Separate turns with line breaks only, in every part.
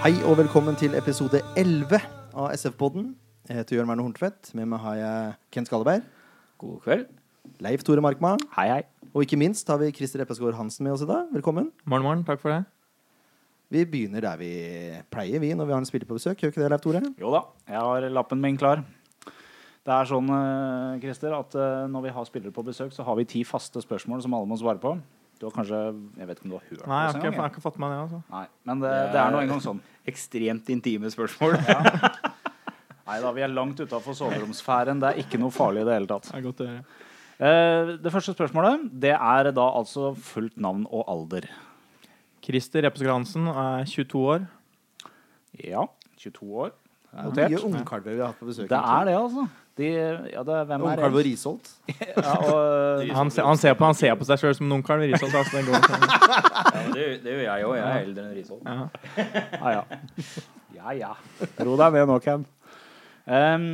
Hei og velkommen til episode 11 av SF-podden. Jeg heter Jørn Werner Horntvedt. Med meg har jeg Kent Skalleberg,
God kveld.
Leif Tore Markma,
Hei, hei.
og ikke minst har vi Christer Eppesgaard Hansen med oss i dag. Velkommen.
Morgen, morgen. Takk for det.
Vi begynner der vi pleier, vi, når vi har en spiller på besøk. Gjør ikke det, Leif Tore?
Jo da, jeg har lappen min klar. Det er sånn, eh, Christer, at eh, når vi har spillere på besøk, så har vi ti faste spørsmål som alle må svare på. Du har kanskje Jeg vet ikke om du har hørt
Nei, jeg har
oss
ikke, jeg
engang,
har ikke fått med meg det. altså.
jeg. Nei, Men det, det er nå engang sånn.
ekstremt intime spørsmål.
Nei da, vi er langt utafor soveromsfæren. Det er ikke noe farlig i det hele tatt.
Det er godt å høre.
Eh, Det første spørsmålet, det er da altså fullt navn og alder.
Christer Reppeskog Hansen er 22 år.
Ja. 22 år. Det er
Mye
Notert.
ungkalver vi har hatt på besøk.
Det er det, altså. De, ja, det er, hvem er
Ungkalv og Risholt.
Ja, og,
Han, ser- han, ser, på, han ser på seg sjøl som en ungkar. ved Risholt, Altså, det går ikke.
Ja, men det, det gjør jeg òg. Jeg er eldre enn Risholm.
ja.
Ja, ja. ja, ja. Ro deg ned nå, Ken. Em,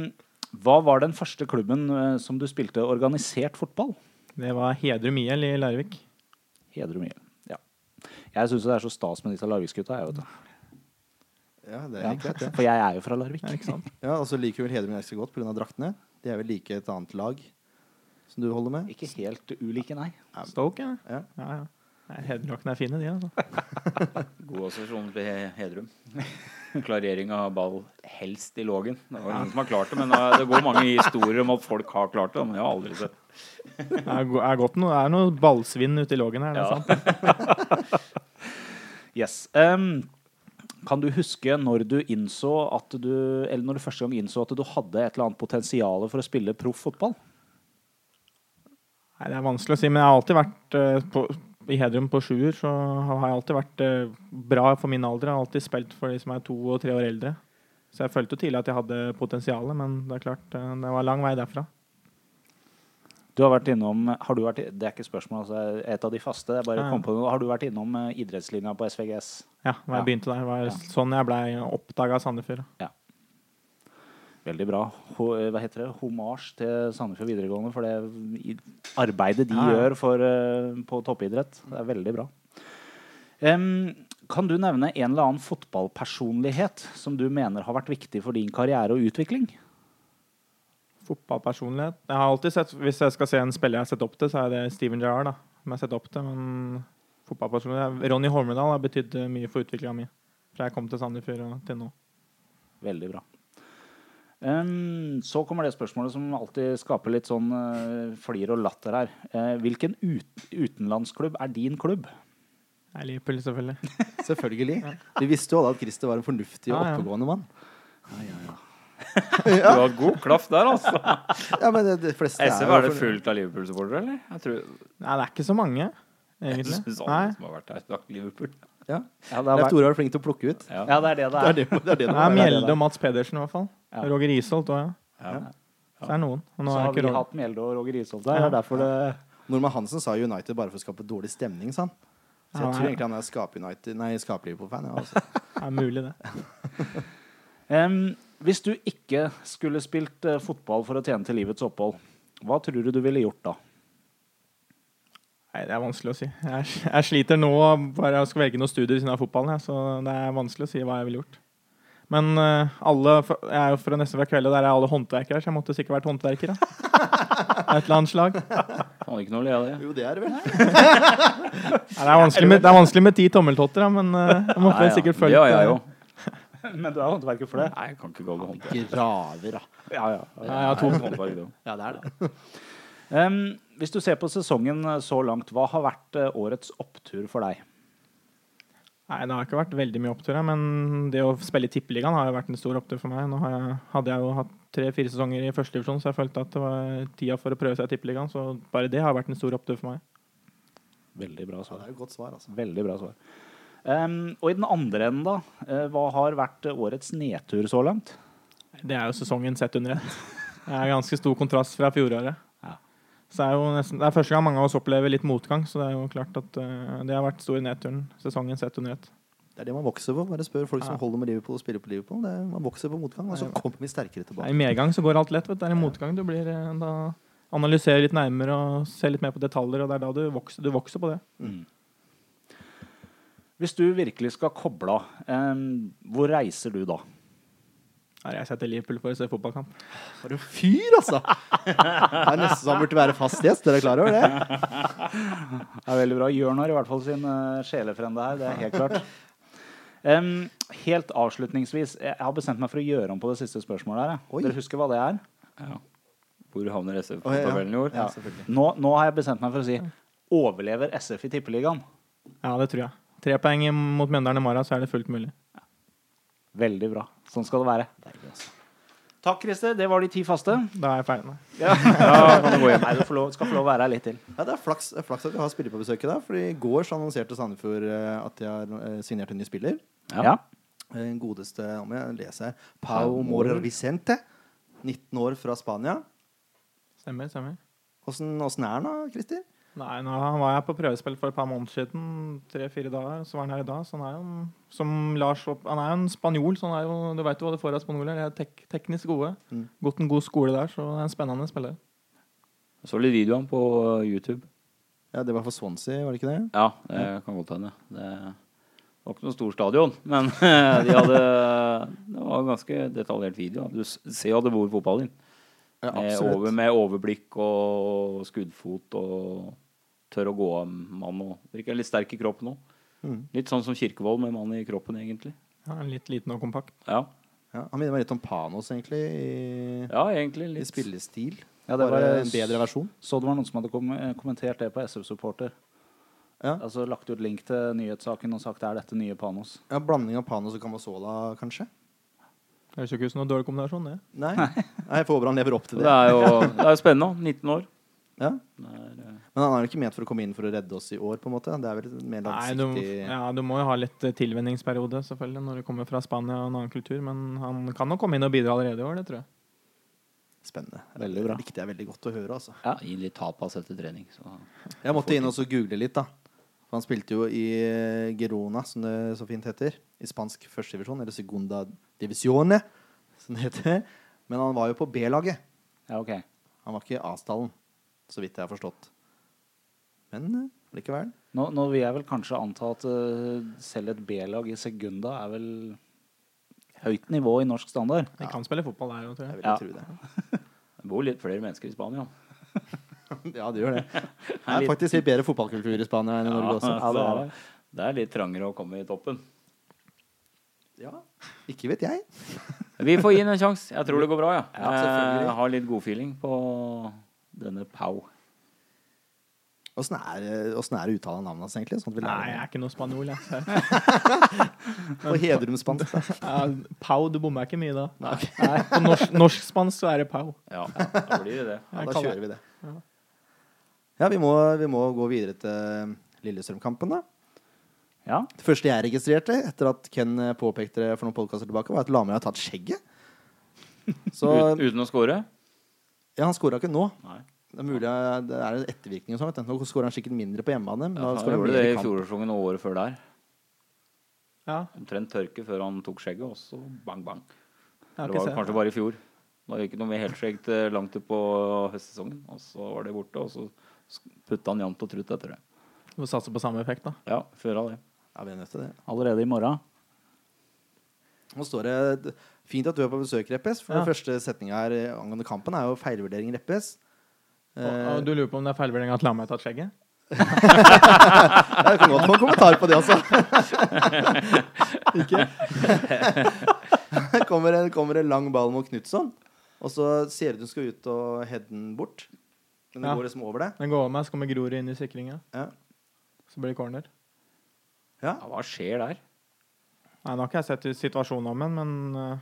hva var den første klubben eh, som du spilte organisert fotball?
Det var Hedrum IL i Larvik.
Hedrum IL. Ja. Jeg syns det er så stas med disse Larviksgutta. jeg, vet du.
Ja, det er
Ja,
helt greit, det.
For jeg er jo fra Larvik.
Ja, ikke sant?
Ja, og så liker vi vel Hedemund ekstra godt pga. draktene. De er vel like et annet lag som du holder med.
Ikke helt ulike, nei.
Stoke, ja.
Ja.
ja, ja. Nei, Hedrockene er fine, de. altså.
God assosiasjon til He- Hedrum. Klarering av ball helst i lågen. Det var ingen som har klart det, men eh, det går mange historier om at folk har klart det. Men jeg har aldri sett
Det er, go- er godt noe, det er noe ballsvinn ute i lågen her. Det er
Ja.
sant.
Yes. Em, kan du huske når du innså at du Eller når du første gang innså at du hadde et eller annet potensial for å spille proff fotball?
Nei, det er vanskelig å si, men jeg har alltid vært eh, på, i Hedrum på sjuer, så har jeg alltid vært eh, bra for min alder. Jeg har alltid spilt for de som er to og tre år eldre. Så jeg følte jo tidlig at jeg hadde potensialet, men det er klart, eh, det var lang vei derfra.
Du har vært innom har du vært, i- Det er ikke spørsmål, altså, det er et av de faste. Jeg bare
Ja, ja.
kom på noe. Har du vært innom eh, idrettslinja på SVGS?
Ja, da
Ja.
jeg begynte der, var
Ja.
sånn jeg blei oppdaga Sandefjord.
Veldig bra. Ho, eh, hva heter det? Homasj til Sandefjord videregående for det i- arbeidet de
Ja, ja.
gjør for, eh, på toppidrett. Det er veldig bra. Em, kan du nevne en eller annen fotballpersonlighet som du mener har vært viktig for din karriere og utvikling?
Fotballpersonlighet. Jeg har alltid sett, Hvis jeg skal se en spiller jeg har sett opp til, så er det Steven Gerrard. da, som jeg har sett opp til, men fotballpersonlighet. Ronny Holmedal har betydd eh, mye for utviklinga mi fra jeg kom til Sandefjord og til nå.
Veldig bra. Em, så kommer det spørsmålet som alltid skaper litt sånn eh, flir og latter her. Eh, hvilken ut, utenlandsklubb er din klubb?
Jeg er Liverpool, selvfølgelig.
Selvfølgelig. Vi visste jo alle at Christer var en fornuftig og
Ja, ja.
oppegående mann.
Du har god klaff der, altså.
Ja, men det, det fleste
SF,
jo
er det
fornu-
fullt av Liverpool-supportere, eller? Jeg tror
Nei, det er ikke så mange,
jeg
egentlig.
synes
sånn.
alle
Nei.
som har vært der, snakket Liverpool.
Ja.
Ja, det
Leif Tore var flink til å plukke ut.
Ja.
Ja, det er det det
Det
er.
er det, det, er det
Det
nå.
er
det
Mjelde
der.
og Mats Pedersen, i hvert fall.
Ja.
Roger Isholt òg, ja.
Ja.
Så er det noen. Og nå
Så
er
har
ikke
vi
Roger.
hatt Mjelde og Roger Isholt der. Det er derfor det
Norman Hansen sa United bare for å skape dårlig stemning, sa han. Så jeg
Ja,
tror
nei.
egentlig han er skape-United Nei, skape-Liverpool-fan. Ja, altså.
Det er mulig, det.
Em, Hvis du ikke skulle spilt eh, fotball for å tjene til livets opphold, hva tror du du ville gjort da?
Nei, Det er vanskelig å si. Jeg, jeg sliter nå bare jeg skal velge noe studie ved siden av fotballen, jeg, så det er vanskelig å si hva jeg ville gjort. Men eh, alle, jeg er jo fra nesten fra kveld, og der er alle håndverkere, så jeg måtte sikkert vært håndverker. Da. Av Et eller annet slag. Nei,
Kan ikke noe å le av det.
Jo, det er det vel.
det, er vanskelig med, det er vanskelig med ti tommeltotter, da, men eh, jeg måtte
Nei, ja.
sikkert
Det
følt
har jeg jo.
Men du er håndverker for det?
Nei, jeg kan ikke gå med hånd.
Graver, da.
Ja, ja.
eh, ja, jeg har to.
Ja, det er det.
Em, hvis du ser på sesongen eh, så langt, hva har vært eh, årets opptur for deg?
Nei, det har ikke vært veldig mye opptur, ja, men det å spille i Tippeligaen har jo vært en stor opptur for meg. Nå har jeg, hadde jeg jo hatt tre-fire sesonger i første divisjon, så jeg følte at det var tida for å prøve seg i Tippeligaen, så bare det har vært en stor opptur for meg.
Veldig bra
Ja, det er jo et godt svar, altså.
Veldig bra svar. Em, og i den andre enden, da. eh, hva har vært eh, årets nedtur så langt?
Det er jo sesongen sett under ett. Det er ganske stor kontrast fra fjoråret.
Ja.
Så det er jo nesten, det er første gang mange av oss opplever litt motgang, så det er jo klart at eh, det har vært stor nedturen sesongen sett under ett.
Det er det man vokser på. Bare spør folk som
Ja.
holder med Liverpool og spiller på Liverpool. Det er, man vokser på motgang, og så kommer vi sterkere
I
tilbake.
medgang så går alt lett, vet du. Det er i motgang du blir eh, da analyserer litt nærmere og ser litt mer på detaljer, og det er da du vokser, du vokser på det.
Hvis du virkelig skal koble av, em, hvor reiser du da?
Har jeg sett til Liverpool for å se fotballkamp?
For en fyr, altså! Det er nesten så han burde være fast gjest. Dere er klar over det?
Det er veldig bra. Jørn har i hvert fall sin eh, sjelefrende her, det er helt klart. Em, helt avslutningsvis, jeg har bestemt meg for å gjøre om på det siste spørsmålet her. jeg.
Oi.
Dere husker hva det er?
Ja. Hvor havner SF på
Å, ja, ja.
tabellen i år?
Ja, selvfølgelig.
Nå, nå har jeg bestemt meg for å si overlever SF i Tippeligaen?
Ja, det tror jeg. Tre poeng mot Mjøndalen i morgen, så er det fullt mulig.
Veldig bra. Sånn skal det være.
altså.
Takk, Christer. Det var de ti faste.
Da er jeg ferdig med det.
Ja. Nei, du får lov, skal få lov å være her litt til.
Ja, det er flaks, det er flaks at vi har spillere på besøk i dag, for i går så annonserte Sandefjord eh, at de har eh, signert en ny spiller.
Ja.
Eh, Den godeste, om jeg leser her, Pau Morer Vicente. 19 år fra Spania.
Stemmer, stemmer.
Åssen åssen er han da, Christer?
Nei, nå var jeg på prøvespill for et par måneder siden. Tre-fire dager, så var han her i dag. Så han er jo, som Lars, Opp- han er jo en spanjol, så han er jo, du veit jo hva du får av spanjoler. De er tek teknisk gode.
Mm.
Gått en god skole der, så han er en spennende spiller.
Så litt video av han på eh, YouTube.
Ja, Det var for Swansea, var det ikke det?
Ja, det kan godt hende. Det var ikke noe stor stadion, men de hadde Det var en ganske detaljert video. Du s- ser jo at det bor fotball i den.
Ja,
Med,
absolutt.
over, med overblikk og skuddfot og tør å gå av mann og Virker litt sterk i kroppen òg.
Mm.
Litt sånn som Kirkevold med mann i kroppen, egentlig.
Ja, litt liten og kompakt.
Ja,
Ja, han minner meg litt om Panos, egentlig, i,
ja egentlig
i
litt.
spillestil.
Ja, det
Bare
var-
en bedre versjon.
Så det var noen som hadde kom eh, kommentert det på SF-supporter.
Ja.
Altså lagt ut link til nyhetssaken og sagt er dette nye Panos.
Ja, Blanding av Panos og Camasola, kanskje?
Høres jo ikke ut som noen dårlig kombinasjon, det.
Nei, Nei jeg får håpe han lever opp til
Og
det.
Det er jo det er jo spennende. 19 år.
Ja.
Det er, eh,
Men han er jo ikke ment for å komme inn for å redde oss i år, på en måte. Det er vel et mer
Nei, du,
langsiktig
ja, du må jo ha litt eh, tilvenningsperiode, selvfølgelig, når du kommer fra Spania og en annen kultur. Men han kan nok komme inn og bidra allerede i år, det tror jeg.
Spennende.
Veldig bra.
Det likte jeg veldig godt å høre, altså.
ja, gi litt tapas etter trening. Så.
Jeg måtte inn og så google litt, da. For Han spilte jo i eh, Girona, som det så fint heter. I spansk førstedivisjon, eller segunda divisione, som det heter. Men han var jo på B-laget.
Ja, ok.
Han var ikke i A-stallen, så vidt jeg har forstått. Men eh, likevel.
Nå, nå vil jeg vel kanskje anta at eh, selv et B-lag i Segunda er vel høyt nivå i norsk standard.
Han kan spille fotball der òg, tror
Jeg
jeg.
vil jo
Ja.
tro det.
Det bor litt flere mennesker i Spania.
Ja, det gjør det. Det er faktisk litt bedre fotballkultur i Spania enn i Norge også.
Ja,
det er
så det er litt trangere å komme i toppen.
Ja, ikke vet jeg.
Vi får gi den en sjanse. Jeg tror det går bra, ja.
Ja, selvfølgelig.
jeg har litt godfeeling på denne Pau.
Åssen er, hvordan er det uttale av navnet hans, egentlig? Sånn at vi
Nei,
lærer
jeg er ikke noe spanjol, jeg.
det. På Hedrum-spansk. da.
Ja, Pau, du bommer ikke mye da. Nei, På norsk- norsk-spansk så er det Pau.
Ja, da blir det det.
Ja,
Jeg
da
kaller-
kjører vi det. Ja, vi må, vi må gå videre til eh, Lillestrøm-kampen, da.
Ja,
Det første jeg registrerte etter at Ken eh, påpekte det for noen podkaster tilbake, var at Lamøy har tatt skjegget. Så
Ut, uten å score?
ja, han scora ikke nå.
Nei.
Det er mulig eh, det er en ettervirkning og sånn. vet du. Nå scorer han sikkert mindre på hjemmebane. Men
Ja,
da
han
scorer han
gjorde
mer
det
i
i
kamp.
fjorårssesongen og året før der.
Ja,
Omtrent tørke før han tok skjegget, og så bang, bang.
jeg
Det
har
var
ikke
jo
sett.
kanskje bare i fjor. Da gikk det noe med helskjegg til langt ut på høstsesongen, og så var det borte. Og så putta han jevnt og trutt etter det.
Du må satse på samme effekt, da.
Ja, før av det.
Ja, vi er nødt til det.
allerede i morgen.
Nå står det Fint at du er på besøk, Reppes. For
Ja.
den første setninga her eh, angående kampen er jo feilvurdering, Reppes.
Og,
Eh,
og du lurer på om det er feilvurdering at Lamme har tatt skjegget?
Ja, Jeg kan godt få en kommentar på det også. Ikke? kommer, en, kommer en lang ball mot Knutson, og så ser du hun skal ut og heade den bort. Men det
Ja.
går liksom over det.
Den går over meg, så kommer Grorud inn i sikringa.
Ja.
Så blir det corner.
Ja.
Ja, hva skjer der?
Nei, nå har ikke jeg sett situasjonen om den, men eh,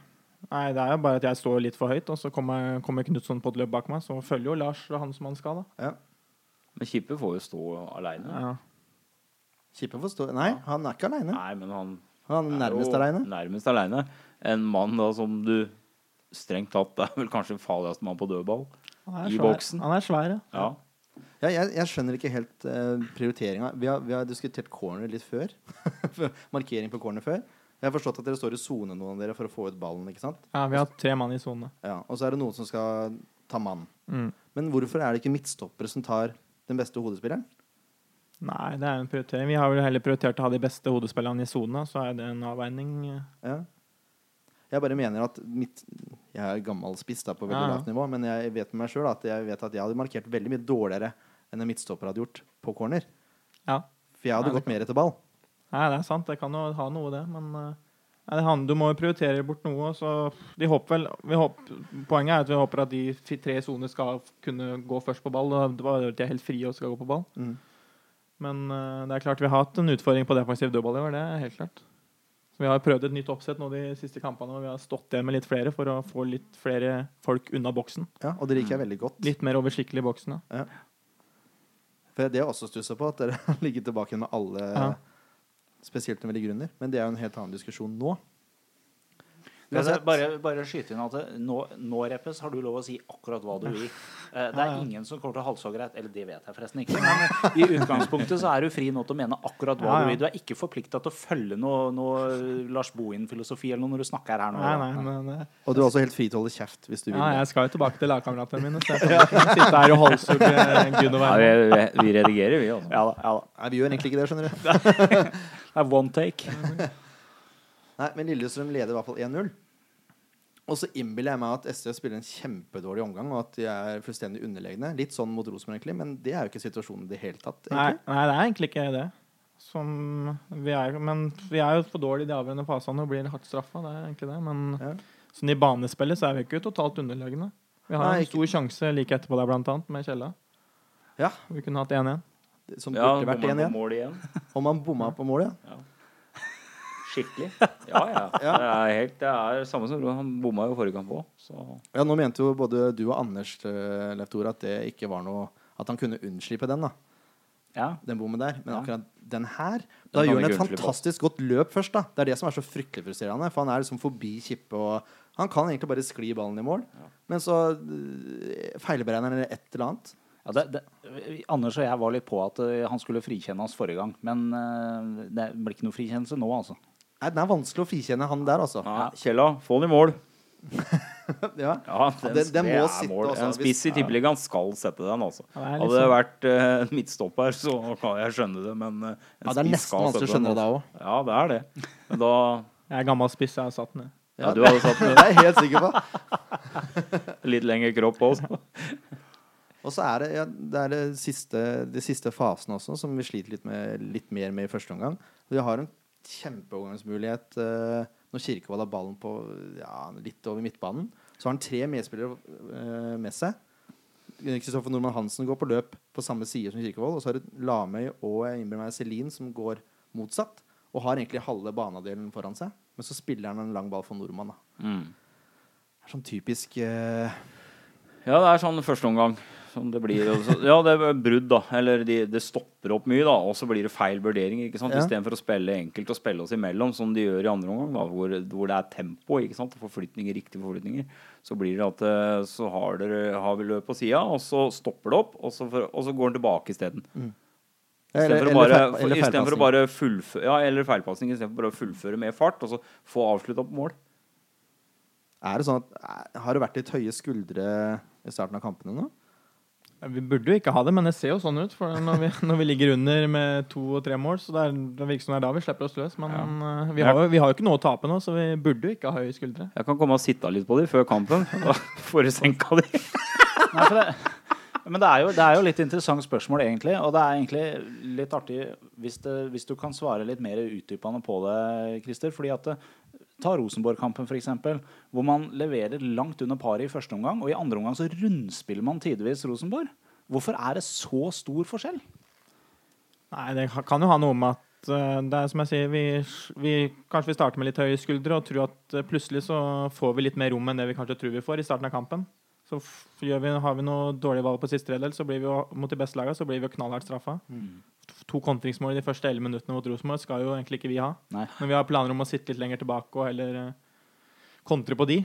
Nei, det er jo bare at jeg står litt for høyt, og så kommer, kommer Knutson på et løp bak meg. Så følger jo Lars og han som han skal, da.
ja.
Men Kippe får jo stå aleine.
Ja.
Kippe får stå Nei, han er ikke aleine.
Nei, men han
Han er nærmest
jo
aleine.
Nærmest aleine. En mann da som du strengt tatt er vel kanskje den farligste mann på dødball.
Han er
I
svær.
boksen.
Han er svær, ja.
Ja.
Ja, jeg, jeg skjønner ikke helt uh, prioriteringa. Vi, har- vi har diskutert corner litt før. Markering på corner før. Jeg har forstått at dere står i sone, noen av dere, for å få ut ballen. ikke sant?
ja. Vi har tre mann i sone.
Ja, Og så er det noen som skal ta mann.
Mm.
Men hvorfor er det ikke midtstoppere som tar den beste hodespilleren?
Nei, det er en prioritering. Vi har vel heller prioritert å ha de beste hodespillerne i sona, så er det en avveining. eh,
Ja. Jeg bare mener at mitt Jeg er gammel spiss da, på veldig
Ja, ja.
lavt nivå, men jeg vet med meg sjøl at jeg vet at jeg hadde markert veldig mye dårligere enn en midtstopper hadde gjort på corner.
Ja.
For jeg hadde
Ja, det
gått mer etter ball.
Nei, det er sant. Det kan jo ha noe, det. Men eh, nei, det handler, du må jo prioritere bort noe. Så de håper vel vi håper, Poenget er at vi håper at de fi- tre soner skal kunne gå først på ball. Og det var- de er helt frie og skal gå på ball.
Mm.
Men eh, det er klart vi har hatt en utfordring på defensiv dødball i år. Det er helt klart. Så vi har prøvd et nytt oppsett nå de siste kampene, og vi har stått igjen med litt flere for å få litt flere folk unna boksen.
Ja, og det liker jeg veldig godt.
Mm. Litt mer oversiktlig i boksen. Ja.
For det har jeg også stussa på, at dere har ligget tilbake med alle
Ja.
spesielt når det gjelder grunner. Men det er jo en helt annen diskusjon nå.
Men
Uansett.
altså, bare, bare skyte inn at det- nå, nå Reppes, har du lov å si akkurat hva du vil. Eh, Det er ingen som kommer til å halshogge deg. Eller det vet jeg forresten ikke. Men eh, i utgangspunktet så er du fri nå til å mene akkurat hva
Ja, ja.
du vil. Du er ikke forplikta til å følge noe, noe Lars Bohin-filosofi eller noe når du snakker her nå.
Nei, nei, men eh,
Og du er også helt fri til å holde kjeft hvis du vil.
Ja, jeg skal jo tilbake til lagkameratene mine. Så jeg kan ikke sitte her og halshugge
Ja,
Gunnar.
vi, vi, vi redigerer, vi. Altså.
Ja da, ja da.
Nei, vi gjør egentlig ikke det, skjønner du.
Det er one take.
Nei, Men Lillestrøm leder i hvert fall 1-0. Og så innbiller jeg meg at SV spiller en kjempedårlig omgang, og at de er fullstendig underlegne. Litt sånn mot Rosenborg, egentlig, men det er jo ikke situasjonen i det hele tatt.
Nei,
egentlig.
nei, det er egentlig ikke det. Som vi er, men vi er jo for dårlige i de avgjørende fasene og blir hardt straffa. Det er egentlig det. Men
Ja.
sånn i banespillet så er vi ikke totalt underlegne. Vi har
Nei,
en stor sjanse like etterpå der, blant annet, med Kjella.
Ja.
Vi kunne hatt 1-1.
Som
Ja,
burde vært
bomma
1-1.
på mål igjen.
Om han bomma på målet.
Skikkelig. Ja, ja. Det er helt det er samme som han bomma jo forrige kamp òg, så
Ja, nå mente jo både du og Anders eh, Leif Tore at det ikke var noe At han kunne unnslippe den, da.
Ja.
Den bommen der. Men
Ja.
akkurat den her Da
kan
gjør
ikke
han et
unnslippe.
fantastisk godt løp først, da. Det er det som er så fryktelig frustrerende. For han er liksom forbi kippet og Han kan egentlig bare skli ballen i mål, men så eh, feilberegner han eller et eller annet.
Ja, det, det, Anders og jeg var litt på at eh, han skulle frikjenne oss forrige gang. Men eh, det blir ikke noe frikjennelse nå, altså.
Nei, den er vanskelig å frikjenne han der, altså.
ja, Kjella, få den i mål.
Ja.
Ja,
Den- den
det
må
er
sitte,
mål.
altså,
En spiss i
hvis-
tippeligaen skal sette den, altså.
Ja, det er litt sånn-
Hadde det vært eh, en midtstopper, så kan jeg skjønne det, men eh, en
Ja, det er
spiss
nesten
skal
vanskelig å
sette den,
skjønne det
altså. Ja, det er det. Men da
Jeg er gammel spiss, jeg har satt ned.
Ja, du hadde satt
Det er jeg helt sikker på.
litt lengre kropp også.
Og så er det, ja, det, er det siste, de siste fasene også, som vi sliter litt, med, litt mer med i første omgang. Vi har en kjempeovergangsmulighet eh, når Kirkevold har ballen på ja, litt over midtbanen. Så har han tre medspillere eh, med seg. Kristoffer Nordmann Hansen går på løp på samme side som Kirkevold. Og så er det Lamøy og jeg innbiller meg Selin som går motsatt. Og har egentlig halve banedelen foran seg. Men så spiller han en lang ball for nordmann. Da.
Mm.
Det er sånn typisk eh,
Ja, det er sånn første omgang. Som det blir, og så- ja, det er brudd, da. Eller de, det stopper opp mye, da. Og så blir det feil vurdering. ikke sant?
Ja.
Istedenfor å spille enkelt og spille oss imellom, som de gjør i andre omgang, da, hvor, hvor det er tempo ikke sant? forflytninger, riktige forflytninger, så blir det at eh, så har, dere, har vi løp på sida, og så stopper det opp, og så, for, og så går den tilbake isteden. Istedenfor å bare,
feil- eller
for- istedenfor å
feilpasning.
bare fullføre Ja, eller feilpasning. Istedenfor bare å fullføre med fart, og så få avslutta på mål.
Er det sånn at eh, Har det vært litt høye skuldre i starten av kampene nå?
Vi burde jo ikke ha det, men det ser jo sånn ut. For når vi, når vi ligger under med to og tre mål, så det, er, det virker som det er da vi slipper oss løs. Men eh, vi, har jo, vi har jo ikke noe å tape nå, så vi burde jo ikke ha høye skuldre.
Jeg kan komme og sitte litt på de før kampen. Da får du senka de.
Nei, for det, men det er, jo, det er jo litt interessant spørsmål, egentlig. Og det er egentlig litt artig hvis, det, hvis du kan svare litt mer utdypende på det, Christer. Fordi at det, Ta Rosenborg-kampen, f.eks., hvor man leverer langt under paret i første omgang. Og i andre omgang så rundspiller man tidvis Rosenborg. Hvorfor er det så stor forskjell?
Nei, det ha- kan jo ha noe med at eh, det er som jeg sier, vi, s- vi kanskje vi starter med litt høye skuldre og tror at eh, plutselig så får vi litt mer rom enn det vi kanskje tror vi får i starten av kampen. Så f gjør vi, har vi noe dårlige valg på siste tredjedel, så blir vi jo, mot de beste lagene, så blir vi jo knallhardt straffa. F- To kontringsmål i de første 11 minuttene mot Rosenborg skal jo egentlig ikke vi ha.
Nei.
Men vi har planer om å sitte litt lenger tilbake og heller eh, kontre på de.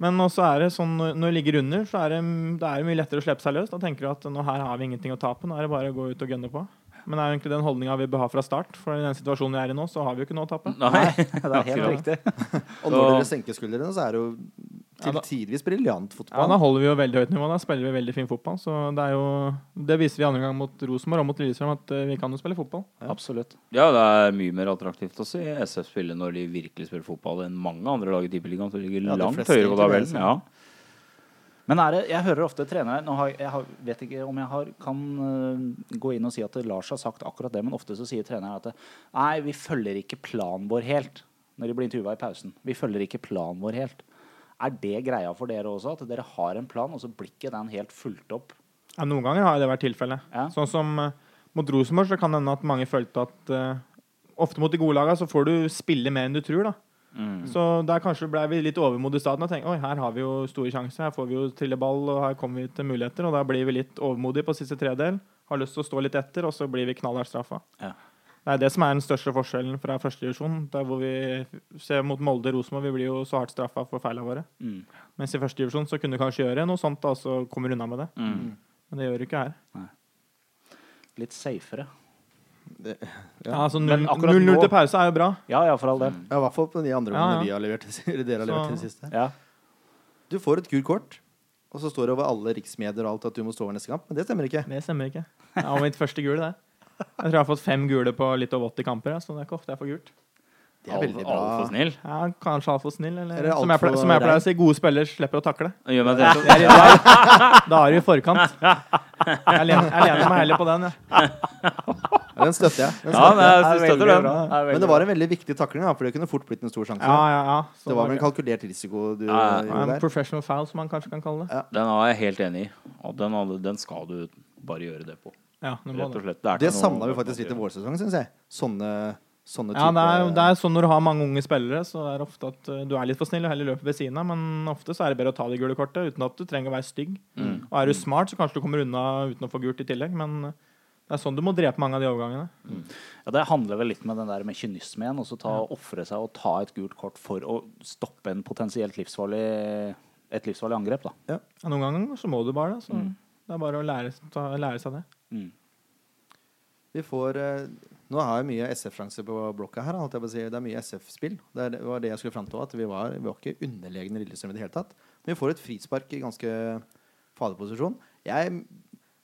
Men også er det sånn når når du ligger under, så er det, det er mye lettere å slippe seg løs. Da tenker du at nå her har vi ingenting å tape, nå er det bare å gå ut og gønne på. Men det er jo egentlig den holdninga vi bør ha fra start. For i den situasjonen vi er i nå, så har vi jo ikke noe å tape.
Nei.
Det er helt
Akkurat.
riktig.
Og
Så-
når dere senker skuldrene, så er det jo Til
da-
tidvis briljant
Ja, Da
fotball.
holder vi jo veldig høyt nivå. Da spiller vi veldig fin fotball. Så det er jo Det viser vi andre gang mot Rosenborg og mot Lillestrøm at eh, vi kan jo spille fotball.
Absolutt.
Ja, det er mye mer attraktivt å se SF spille når de virkelig spiller fotball, enn mange andre lag i Tippeligaen som ligger
Ja, de
langt
fleste altså.
høyere på
inkluderer
tabellen.
seg.
Ja.
Men er det, jeg hører ofte trenere nå har, Jeg har, vet ikke om jeg har, kan øh, gå inn og si at Lars har sagt akkurat det, men ofte så sier treneren at det, nei, vi følger ikke planen vår helt når de blir intervjua i pausen. Vi følger ikke planen vår helt. Er det greia for dere også, at dere har en plan, og så blir ikke den helt fulgt opp?
Ja, noen ganger har det vært tilfellet.
Ja.
Sånn som eh, mot Rosenborg så kan det hende at mange følte at eh, ofte mot de gode lagene så får du spille mer enn du tror. da.
Mm.
Så der kanskje ble vi litt overmodige i staten og tenkte oi, her har vi jo store sjanser. Her får vi jo trilleball, og her kommer vi til muligheter. Og da blir vi litt overmodige på siste tredel. Har lyst til å stå litt etter, og så blir vi knallhardt straffa.
Ja.
Det er det som er den største forskjellen fra første divisjon. Der hvor vi ser mot Molde og Rosenborg, vi blir jo så hardt straffa for feilene våre.
Mm.
Mens i første divisjon så kunne du kanskje gjøre noe sånt, da, og så kommer du unna med det.
Mm.
Mm,
Men det gjør du ikke her.
Litt safere.
Ja, altså
Men
0-0
akkurat nå-
til pause er jo bra.
Ja, ja, for all del.
Ja, I hvert fall på de andre
Ja,
gangene
ja.
vi har levert eller dere har
Så-
levert til det siste.
Ja.
Du får et gult kort, og så står det over alle riksmedier og alt at du må stå over neste kamp, men det stemmer ikke.
Det stemmer ikke. Det var mitt første gule, det. Jeg tror jeg har fått fem gule på litt over 80 kamper, ja, så det er ikke ofte jeg får gult.
Det er veldig bra.
Altfor snill.
Ja, kanskje altfor snill, eller
Eller
som jeg,
altfor
pleier, som jeg pleier
rein.
å si, gode spillere slipper å takle.
Det Gjør meg tenkt,
Det
liksom-
er i dag. Da er du i forkant. Jeg lener, jeg lener meg heller på den, jeg.
Ja, den støtter jeg. Den
ja,
støtter.
men jeg
jeg.
Det er veldig
støtter den.
bra. Det er veldig
Men det var en veldig viktig takling, da, for det kunne fort blitt en stor sjanse.
Ja, ja, ja. Så
det var vel en kalkulert risiko du
Ja, ja.
Ja,
gjorde
En
der.
professional foul, som man kanskje kan kalle det.
Den er jeg helt enig i. Og den, hadde- den skal du bare gjøre det på.
Ja, det, var
Rett og
det.
slett. Det, er
Det
ikke noe-
savna vi faktisk litt i vårsesongen, syns jeg. Sånne, sånne
ja det, er, det er sånn når du har mange unge spillere, så er det ofte at eh, du er litt for snill og heller løper ved siden av, men ofte så er det bedre å ta det gule kortet uten at du trenger å være stygg. Og er du smart, så kanskje du kommer unna uten å få gult i tillegg, men eh, det er sånn du må drepe mange av de overgangene.
Ja, Det handler vel litt med den der med kynisme igjen. Også ta, Ofre seg og ta et gult kort for å stoppe en potensielt livsfarlig, et livsfarlig angrep. da.
Ja, noen ganger så må du bare det. Så det er bare å lære, ta, lære seg det.
Mm.
Vi får eh, Nå har jeg mye SF-sjanser på blokka her. Holdt jeg på å si. Det er mye SF-spill. Det er- det var det jeg skulle fram til. At vi var, vi var ikke underlegne Lillestrøm i det hele tatt. Men vi får et frispark i ganske farlig posisjon. Jeg,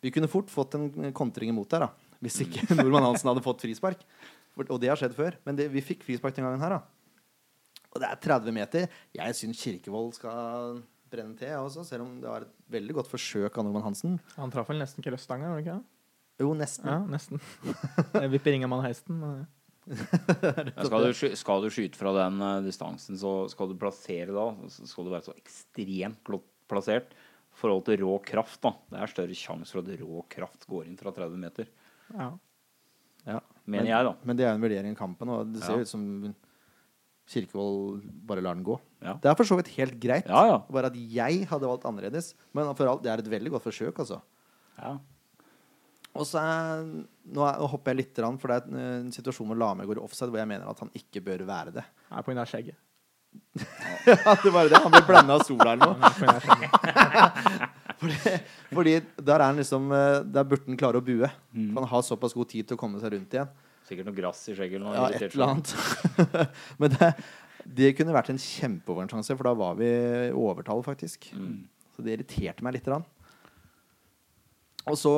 vi kunne fort fått en kontring imot der, da. Hvis ikke Normann Hansen hadde fått frispark. For- Og det har skjedd før. Men det, vi fikk frispark den gangen her, da. Og det er 30 meter. Jeg syns Kirkevold skal brenne til, jeg også. Selv om det var et veldig godt forsøk av Normann Hansen.
Han traff vel nesten krøststanga, var det ikke det?
Jo, nesten.
Ja, nesten. Jeg vipper ringa med hesten. Men... eh,
Ja, Skal du, sky- skal du skyte fra den eh, distansen, så skal du plassere da, så skal du være så ekstremt godt plassert i forhold til rå kraft. da. Det er større sjanse for at rå kraft går inn fra 30 meter,
Ja.
Ja.
mener jeg, da.
Men det er jo en vurdering i kampen, og det ser
Ja.
ut som Kirkevold bare lar den gå.
Ja.
Det er for så vidt helt greit,
Ja, ja.
bare at jeg hadde valgt annerledes. Men for alt, det er et veldig godt forsøk, altså.
Ja.
Og så er, nå, er, nå hopper jeg litt, grann, for det er en, en situasjon hvor Lame går i offside, hvor jeg mener at han ikke bør være det.
Nei, på grunn av skjegget.
Ja, det var det. Han ble blanda av sola eller noe.
Nei, på grunn av skjegget.
Fordi der er han liksom eh, Der burde han klare å bue.
Mm.
For han har såpass god tid til å komme seg rundt igjen.
Sikkert noe grass i skjegget eller noe.
Ja,
irritert
et eller annet. Men det, det kunne vært en kjempeoversjanse, for da var vi i overtall, faktisk.
Mm.
Så det irriterte meg lite grann. Og så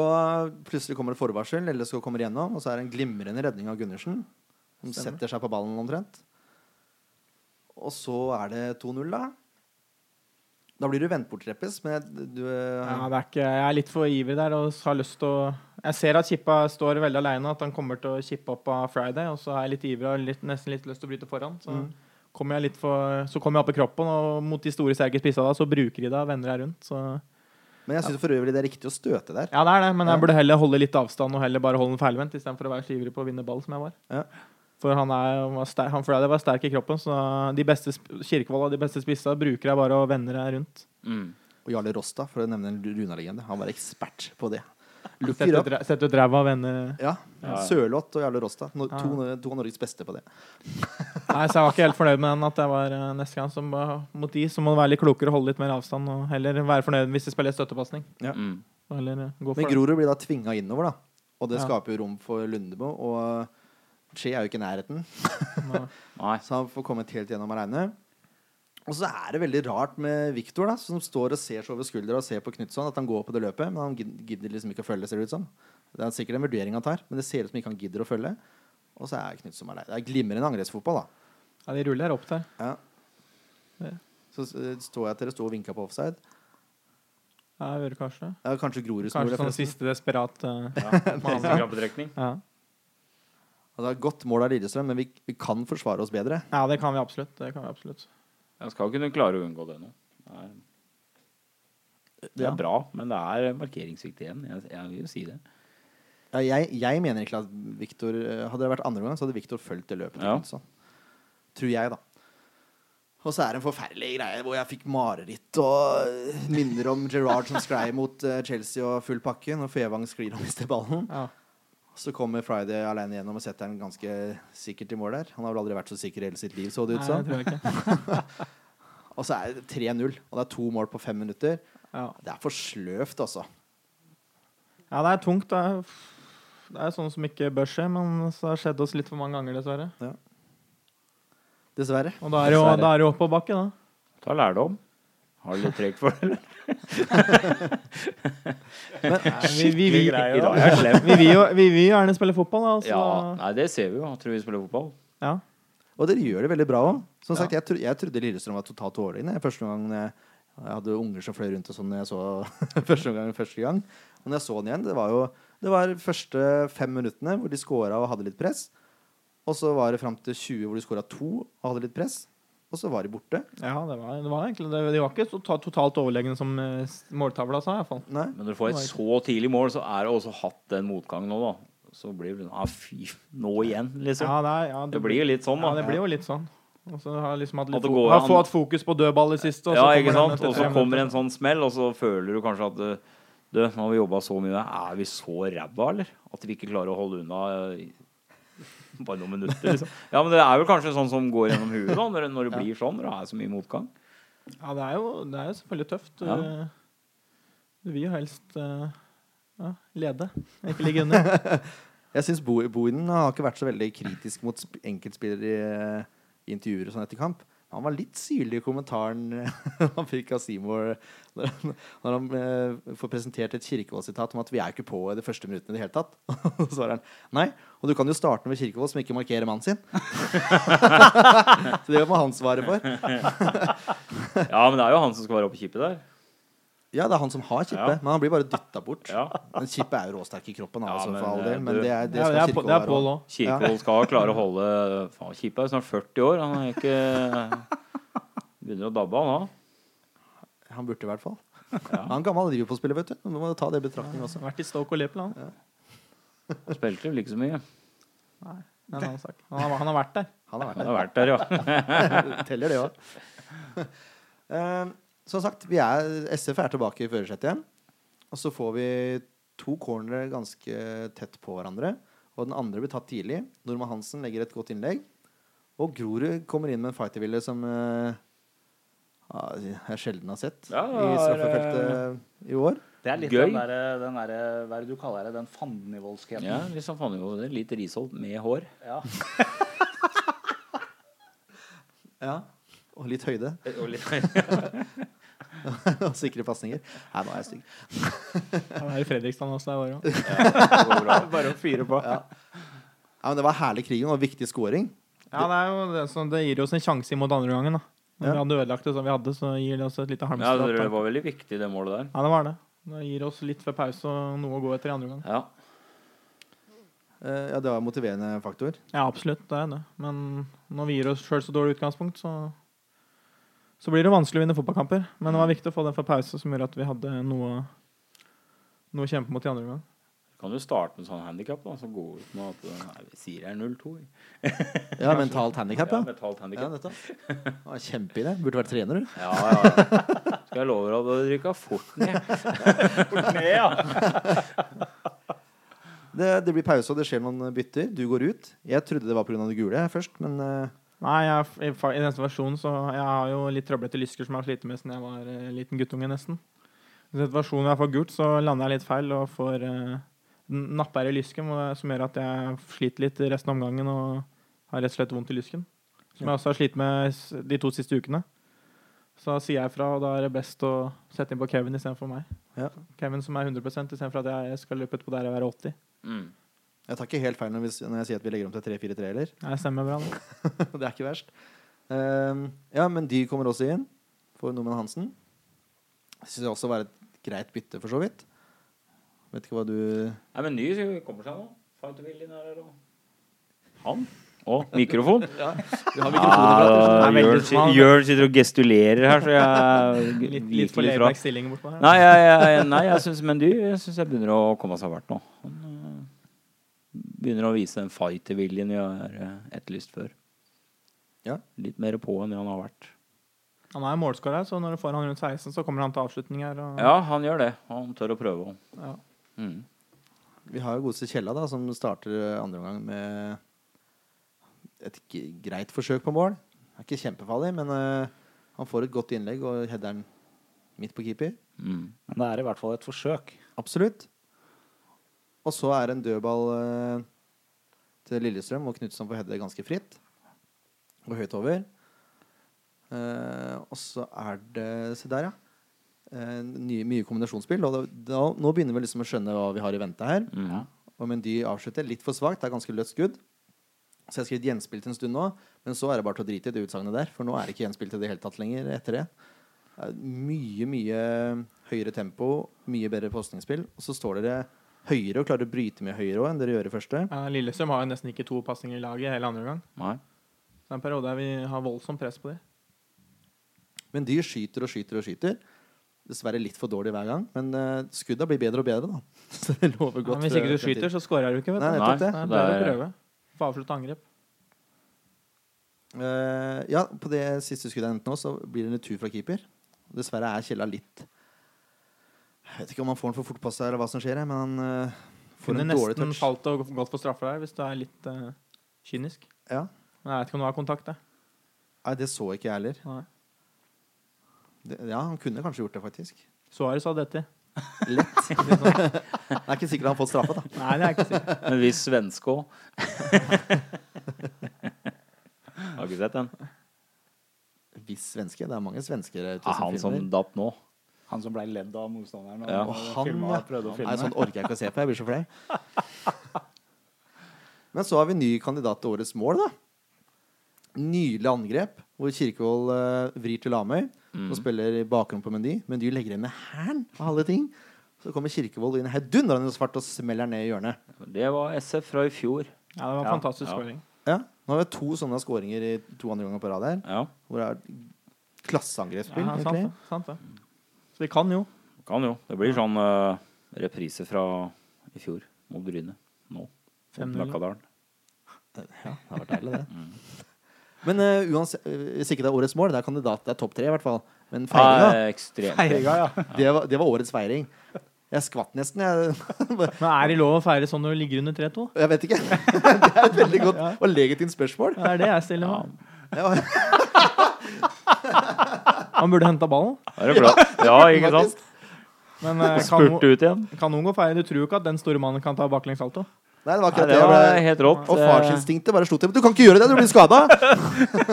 plutselig kommer det forvarsel, eller så kommer det gjennom, og så er det en glimrende redning av Gundersen. Som setter seg på ballen omtrent. Og så er det 2-0, da. Da blir du vendt bort, Reppes, men jeg- du
Ja, det er ikke, jeg er litt for ivrig der og har lyst til å Jeg ser at Kippa står veldig aleine, at han kommer til å kippe opp av Friday. Og så er jeg litt ivrig og litt, nesten litt lyst til å bryte foran. Så kommer jeg litt for Så kommer jeg opp i kroppen, og mot de store, sterke spissa da, så bruker de deg og vender deg rundt. Så
Men jeg syns for øvrig det er riktig å støte der.
ja, det er det, men jeg burde heller holde litt avstand og heller bare holde den feilvendt istedenfor å være så ivrig på å vinne ball som jeg var.
Ja.
For han, er, han var sterk, han Friday var sterk i kroppen, så de beste sp- Kirkevold og de beste spissa bruker deg bare og vender deg rundt.
Mm.
Og Jarle Rosta, for å nevne en Runa-legende, han var ekspert på det. Look it
Sett
up.
ut, sett ut ræva og vender
Ja.
Ja.
Sørloth og Jarle Rosta. No, to, to av Norges beste på det.
Nei, så jeg var ikke helt fornøyd med den. At jeg var eh, neste gang som eh, mot de, så må du være litt klokere og holde litt mer avstand. Og heller være fornøyd hvis de spiller støttepasning.
Mm.
Og Heller eh,
Men
gå for det.
Grorud blir da tvinga innover, da. Og det
Ja.
skaper jo rom for Lundebo. Og Skje er jo ikke i nærheten,
Nei.
så han får kommet helt gjennom aleine. Og så er det veldig rart med Viktor, da, som står og ser seg over skuldra og ser på Knutson, at han går på det løpet, men han gid- gidder liksom ikke å følge, ser det ut som. Det er sikkert en vurdering han tar, men det ser ut som ikke han gidder å følge. Og så er Knutson alene. Det er glimrende angrepsfotball, da.
Ja, de ruller opp der.
Ja.
Ja.
Så eh, står jeg at dere sto og vinka på offside.
Ja, jeg hører kanskje.
Ja, kanskje Grorud som gjorde
Kanskje
det.
sånn
forresten.
siste desperat eh,
Siste krampetrekning.
ja.
Og det er godt mål av Lillestrøm, men vi, vi kan forsvare oss bedre.
ja, det kan vi absolutt. Det kan vi absolutt.
Jeg skal kunne klare å unngå det nå. Det er, det
Ja.
er bra, men det er markeringssvikt igjen. Jeg, jeg vil jo si det.
Ja, jeg, jeg mener ikke at Victor eh, Hadde det vært andre gang, så hadde Victor fulgt det løpet. til
Ja.
Knutson. Tror jeg, da. Og så er det en forferdelig greie hvor jeg fikk mareritt og eh, minner om Gerrard som sklei mot eh, Chelsea og full pakke når Fevang sklir og mister ballen.
Ja.
Så kommer Friday alene gjennom og setter den ganske sikkert i mål der. Han har vel aldri vært så sikker i hele sitt liv, så det
Nei,
ut
det
som.
tror jeg ikke.
Og så er det 3-0, og det er to mål på fem minutter.
Ja.
Det er for sløvt, altså.
ja, det er tungt. Det er, det er sånn som ikke bør skje, men så har det skjedd oss litt for mange ganger, dessverre.
Dessverre.
Og da er det jo,
Dessverre.
da er det jo oppoverbakke, da.
Ta lærdom. Har du litt tregt for det?
Vi, vi, vi,
I dag er jeg slem.
vi vil jo vi vil jo gjerne spille fotball, da. Så,
Ja, Altså- nei, det ser vi jo. Jeg tror vi spiller fotball.
ja.
Og dere gjør det veldig bra òg. Som sagt, jeg, tro, jeg trodde Lillestrøm var totalt overlegne. Første gang jeg, jeg hadde unger som fløy rundt og sånn når jeg så første gang. Første gang. Men når jeg så den igjen, det var jo det var første fem minuttene hvor de scora og hadde litt press. Og så var det fram til 20 hvor de scora to og hadde litt press. Og så var de borte.
ja det, var, det var egentlig det. De var ikke så ta- totalt overlegne som eh, s- måltavla sa, iallfall.
Nei.
Men når du får et så tidlig mål, så er det også hatt den motgangen nå, da. Så blir det ah, fy, nå igjen, liksom.
Ja, det, er- ja,
Det blir jo litt sånn,
Ja, det
da.
blir jo litt sånn. Og så har jeg liksom hatt
At
litt
det
fo-
går
har
an.
fått fokus på dødball i siste.
Ja, ikke
kommer den
sant?
etter
Og
tre
så kommer
minutter.
en sånn smell, og så føler du kanskje at eh, Du, nå har vi jobba så mye, er vi så ræva, eller? At vi ikke klarer å holde unna eh, i bare noen minutter, liksom. Ja, men det er vel kanskje sånn som går gjennom huet, da, når, det- når det blir sånn, når det er så mye motgang.
Ja, det er jo, det er jo selvfølgelig tøft. Du,
Ja.
du vil jo helst eh, ja, lede, ikke ligge under.
Jeg syns Bohinen har ikke vært så veldig kritisk mot sp- enkeltspillere i, eh, i intervjuer og sånn etter kamp. Han var litt syrlig i kommentaren eh, han fikk av Seymour når han, når han eh, får presentert et Kirkevold-sitat om at 'vi er ikke på i de første minuttene i det hele tatt'. Og så svarer han 'nei, og du kan jo starte med Kirkevold som ikke markerer mannen sin'. så det må han svare for.
Ja, men det er jo han som skal være oppe i kippet der.
Ja, det er han som har kippet,
Ja.
men han blir bare dytta bort.
Ja.
Men kippet er jo råsterk i kroppen,
Ja,
altså,
men,
for all
eh,
del. Men
du-
det er,
Det
det
er,
skal
det er, på-
Kirkevold
det er
være.
Pål
også.
òg.
Kirkevold skal klare å holde Faen, Kippe er jo snart 40 år. Han er ikke Begynner å dabbe av, han da.
Han burde i hvert fall. Han er en gammel Liverpool-spiller, vet du. Du må ta det i betraktning også.
Vært i Stoke og Liverpool, han.
Han Spilte vel ikke så mye.
Det er en annen sak. Han, har, han har vært der.
Han har
Han har vært der, ja.
vært der. Teller det òg. Som sagt, vi er, SF er tilbake i førersetet igjen. Og så får vi to cornere ganske tett på hverandre. Og den andre blir tatt tidlig. Normann Hansen legger et godt innlegg. Og Grorud kommer inn med en fighterville som eh, ja, jeg sjelden har sett
Ja,
i
det var, eh,
straffefeltet i år.
Det er litt
Gøy.
den derre den derre- Hva er det du kaller det? Den fandenivoldskheten?
ja litt sånn faen jo, det er litt Risholt med hår.
Ja.
Ja. Og litt høyde. og sikre pasninger. Nei, nå er jeg stygg.
Han er i Fredrikstad også det året òg.
Bare å fyre på.
Ja, men det var herlig krigen og viktig scoring.
Ja, det, er jo det, som- det gir oss en sjanse imot andre gangen, da. Når
Ja.
vi hadde ødelagt det som vi hadde, så gir det oss et lite
Ja,
halmstrå.
det
Ja,
var veldig viktig, det målet der.
det var det. Det gir oss litt før pause og noe å gå etter i andre gang.
Ja.
Eh, ja, det var en motiverende faktor.
Ja, absolutt. Det er det. Men når vi gir oss sjøl så dårlig utgangspunkt, så så blir det vanskelig å vinne fotballkamper. Men det var viktig å få den for pause, som gjorde at vi hadde noe noe å kjempe mot i andre gang.
Du kan jo starte med sånn handikap, da, så gå ut med at eh, Nei, vi sier det er 0-2. vi.
Ja, mentalt handikap,
Ja,
ja.
mentalt
ja
handikap.
nettopp. Ah, Kjempeidé. Burde vært trener, du.
Ja, ja, ja. Skal jeg love deg at du rykka fort ned.
Det, det blir pause, og det skjer noen bytter. Du går ut. Jeg trodde det var pga. det gule først, men eh,
Nei, jeg, i, fa- i neste versjon så Jeg har jo litt trøblete lysker som jeg har slitt med siden jeg var eh, liten guttunge, nesten. I den versjonen hvor jeg får gult, så lander jeg litt feil og får eh, n- napper i lysken, hvor- som gjør at jeg sliter litt i resten av omgangen og har rett og slett vondt i lysken. Som jeg også har slitt med s- de to siste ukene. Så da sier jeg fra, og da er det best å sette inn på Kevin istedenfor meg.
Ja.
Kevin som er 100 istedenfor at jeg skal løpe utpå der og være 80.
Mm.
Jeg tar ikke helt feil når, vi, s- når jeg sier at vi legger om til 3-4-3 heller.
Nei, det stemmer bra. Det.
det er ikke verst. Ehm, ja, men de kommer også inn for nordmenn Hansen. Syns jeg også var et greit bytte, for så vidt. Vet ikke hva du
Nei, men ny kommer seg nå. Fighterviljen er her og Han? Og mikrofon.
Du har
Ja,
Det er veldig
Jørn si-
smalt.
Jørn sitter og gestulerer her, så jeg g-
Litt,
liker
litt for
litt fra.
layback stilling bortpå her.
Nei, jeg, jeg, nei, jeg syns Mendy jeg synes jeg begynner å komme seg hvert nå. Han eh, begynner å vise den fighterviljen vi har eh, etterlyst før.
Ja.
Litt mer på enn det han har vært.
Han er målskårer, så når du får han rundt 16, så kommer han til avslutning her. Og,
Ja, han gjør det. Han tør å prøve. også.
Ja.
Mm.
Vi har jo godeste Kjella, da, som starter eh, andre omgang med et g- greit forsøk på mål. Det er ikke kjempefarlig, men eh, han får et godt innlegg og header den midt på keeper.
Mm.
Men det er i hvert fall et forsøk.
Absolutt. Og så er det en dødball eh, til Lillestrøm, og Knutson får heade ganske fritt. Og høyt over. Eh, og så er det Se der, ja. Eh, nye, mye kombinasjonsspill. Og da, da, nå begynner vi liksom å skjønne hva vi har i vente her.
Mm.
Og Mendy avslutter litt for svakt. Det er ganske løst skudd. Så jeg har skrevet gjenspill til en stund nå, men så er det bare til å drite i det utsagnet der. For nå er det ikke gjenspill til det hele tatt lenger etter det. Det er Mye, mye høyere tempo, mye bedre postningsspill. Og så står dere høyere og klarer å bryte med høyere òg enn dere gjør i første.
Ja, Lillestrøm har jo nesten ikke to pasninger i laget hele andre gang.
Nei.
Det er en periode der vi har voldsomt press på dem.
Men de skyter og skyter og skyter. Dessverre litt for dårlig hver gang, men eh, skudda blir bedre og bedre, da. Så det lover
Ja,
godt.
men hvis ikke du
for fremtiden.
skyter, så scorer du ikke. vet du.
Nei,
Nei,
nettopp det.
Det
så
er
det
bedre å
er-
prøve. Få avslutta angrep.
Eh, ja, på det siste skuddet jeg endte nå, så blir det en retur fra keeper. Dessverre er Kjella litt Jeg vet ikke om han får den for fort på seg, eller hva som skjer, men han eh, får
Kunne
en dårlig
nesten
touch.
falt og gått for straffer der, hvis du er litt eh, kynisk.
Ja.
Men jeg vet ikke om du har kontakt, det.
Nei, det så ikke jeg heller.
Nei.
Det, ja, han kunne kanskje gjort det, faktisk.
Suarez hadde dette.
Lett. det er ikke sikkert han har fått straffa, da.
sånn. Nei, det er jeg ikke sikkert.
En viss svenske òg. Har ikke sett den.
Hvis svenske. Det er mange svensker ute
Er han som datt nå?
Han som ble ledd av motstanderen. og
Ja.
og
Og han,
filmet
ja.
og prøvde å
Nei,
filme.
sånn orker jeg ikke å se på. Jeg blir så flau. Men så har vi ny kandidat til årets mål, da. Nydelig angrep hvor Kirkevold eh, vrir til Lamøy og spiller i bakrom på Mendy. Mendy legger igjen med hæren av alle ting. Så kommer Kirkevold inn heidundrende svart og smeller ned i hjørnet.
Det var SF fra i fjor.
Ja, det var en
Ja,
fantastisk
ja.
scoring.
Ja, Nå har vi to sånne skåringer i to andre ganger på rad her.
Ja,
Hvor det er klasseangrepsspill,
Ja, sant,
egentlig.
det, sant det. Så vi kan jo.
kan jo. Det blir sånn eh, reprise fra i fjor mot Bryne nå. Mot
5-0.
Blakkadalen.
Ja, det har vært deilig, det.
Mm.
Men eh, uansett, eh, hvis ikke det er årets mål, det er kandidat, det er topp tre i hvert fall. Men feiringa,
Ja, ekstremt.
Feiriga, ja.
det, var- det var årets feiring. Jeg skvatt nesten, jeg.
Men er det lov å feire sånn når du ligger under 3-2?
Jeg vet ikke. Det er et veldig godt og legitimt spørsmål.
Ja, Det er det jeg stiller meg.
Ja,
Han burde henta ballen.
Er det bra? Ja, ikke sant?
Men eh, Kano-
Spurte ut igjen.
Kanongo feirer. Du tror jo ikke at den store mannen kan ta baklengs salto.
Nei, det var
Nei,
akkurat
det
det.
var
Jeg ble...
helt eh, rått.
Og farsinstinktet bare slo til. Du kan ikke gjøre det, du blir skada!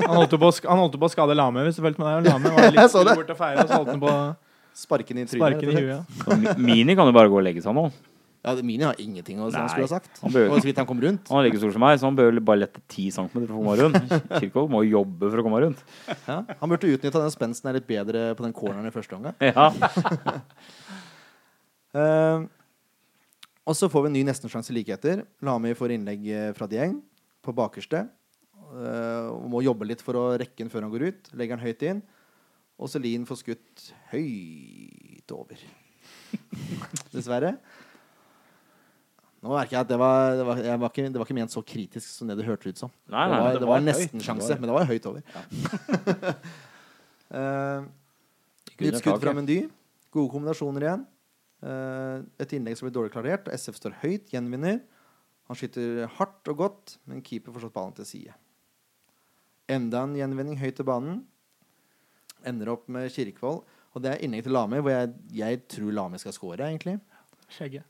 Han holdt jo på, å sk- han holdt jo på å skade Lame, hvis du fulgte med deg. Lame var
Jeg
litt
så det.
bort og feire, og så holdt han på å
Sparken i trynet.
sparke den i huet.
Eh, Mi- Mini kan jo bare gå og legge seg nå.
Ja, Mini har ingenting å si
Nei.
han skulle ha sagt.
Han
Og
bør-
så vidt han kom rundt.
Han er like stor som meg, så han bør bare lette 10 cm for å komme rundt. Kirkholt må jo jobbe for å komme rundt.
Ja. Han burde utnytta den spensten her litt bedre på den corneren i første omgang.
Ja.
Eh, og så får vi en ny nestensjanse like etter. Lami får innlegg eh, fra Dieng på bakerste. eh, og må jobbe litt for å rekke den før han går ut. Legger den høyt inn. Og Selin får skutt høyt over. Dessverre. Nå merker jeg at det var, det, var, jeg var ikke, det var ikke ment så kritisk som det det hørtes ut som.
Nei, nei,
det var,
det
det
var
var en
høyt.
nestensjanse, men det var høyt over. Eh, Nytt skudd fra Mendy. Gode kombinasjoner igjen. Eh, Et innlegg som blir dårlig klarert. SF står høyt, gjenvinner. Han skyter hardt og godt, men keeper får slått ballen til side. Enda en gjenvinning høyt til banen. Ender opp med Kirkevold. Og det er innlegg til Lami, hvor jeg, jeg tror Lami skal score, egentlig.
Skjegget.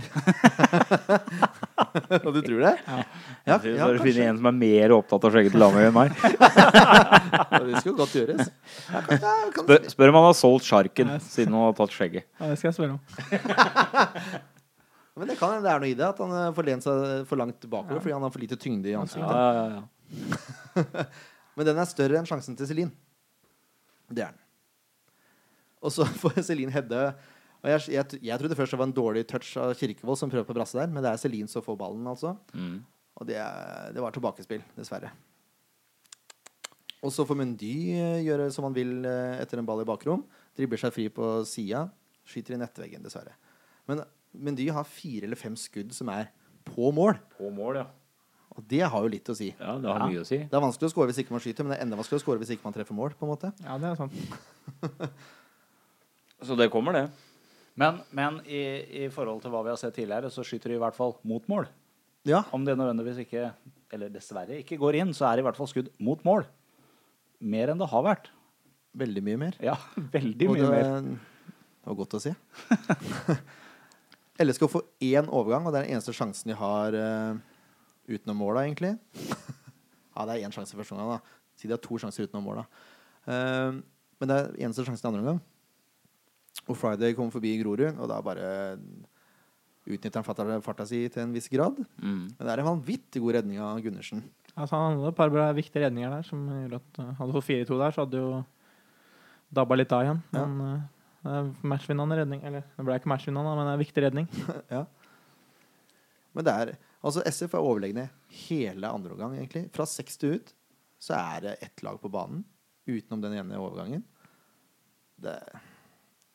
Og du tror det? Ja, ja,
Jeg synes bare å
kanskje.
finne en som er mer opptatt av skjegget til Lamøy enn meg.
Det skulle godt gjøres. Ja, kan, ja, kan
Spør, spør om han har solgt sjarken siden han har tatt skjegget.
Ja, det skal jeg spørre om.
Men det kan hende det er noe i det, at han eh, får lent seg for langt bakover fordi han har for lite tyngde i ansiktet. Men den er større enn sjansen til Celine. Det er den. Og så får Celine Hedde og jeg, jeg, jeg trodde først det var en dårlig touch av Kirkevold som prøver på brasse der, men det er Celine som får ballen, altså.
Mm.
Og det, er- det var tilbakespill, dessverre. Og så får Mundy eh, gjøre som han vil eh, etter en ball i bakrom. Dribler seg fri på sida. Skyter i nettveggen, dessverre. Men Mundy har fire eller fem skudd som er på mål.
På mål, ja.
Og det har jo litt å si.
ja det har mye å si.
Det er vanskelig å score hvis ikke man skyter, men det er enda vanskeligere å score hvis ikke man treffer mål. på en måte.
Ja, det er sant.
Så det kommer, det.
Men, men i, i forhold til hva vi har sett tidligere, så skyter de i hvert fall mot mål.
Ja,
Om det nødvendigvis ikke, eller dessverre ikke går inn, så er det i hvert fall skudd mot mål. Mer enn det har vært.
veldig mye mer.
Ja, veldig
Og
mye mer.
Det var godt å si. LSK får én overgang, og det er den eneste sjansen de har eh, utenom måla, egentlig. ja, det er én sjanse i første omgang, da. Si de har to sjanser utenom måla. Eh, men det er eneste sjansen i andre omgang. Og Friday kommer forbi Grorud, og da bare utnytter han farta, farta si til en viss grad.
Mm.
Men det er en vanvittig god redning av Gundersen.
Altså, han hadde et par bra viktige redninger der som gjorde at eh, Hadde fått 4-2 der, så hadde jo dabba litt av igjen.
Ja.
Men eh, det er matchvinnende redning. Eller det ble ikke matchvinnende, men det er en viktig redning.
ja. Men det er Altså, SF er overlegne hele andre omgang, egentlig. Fra 60 ut så er det ett lag på banen, utenom den ene overgangen. Det, det er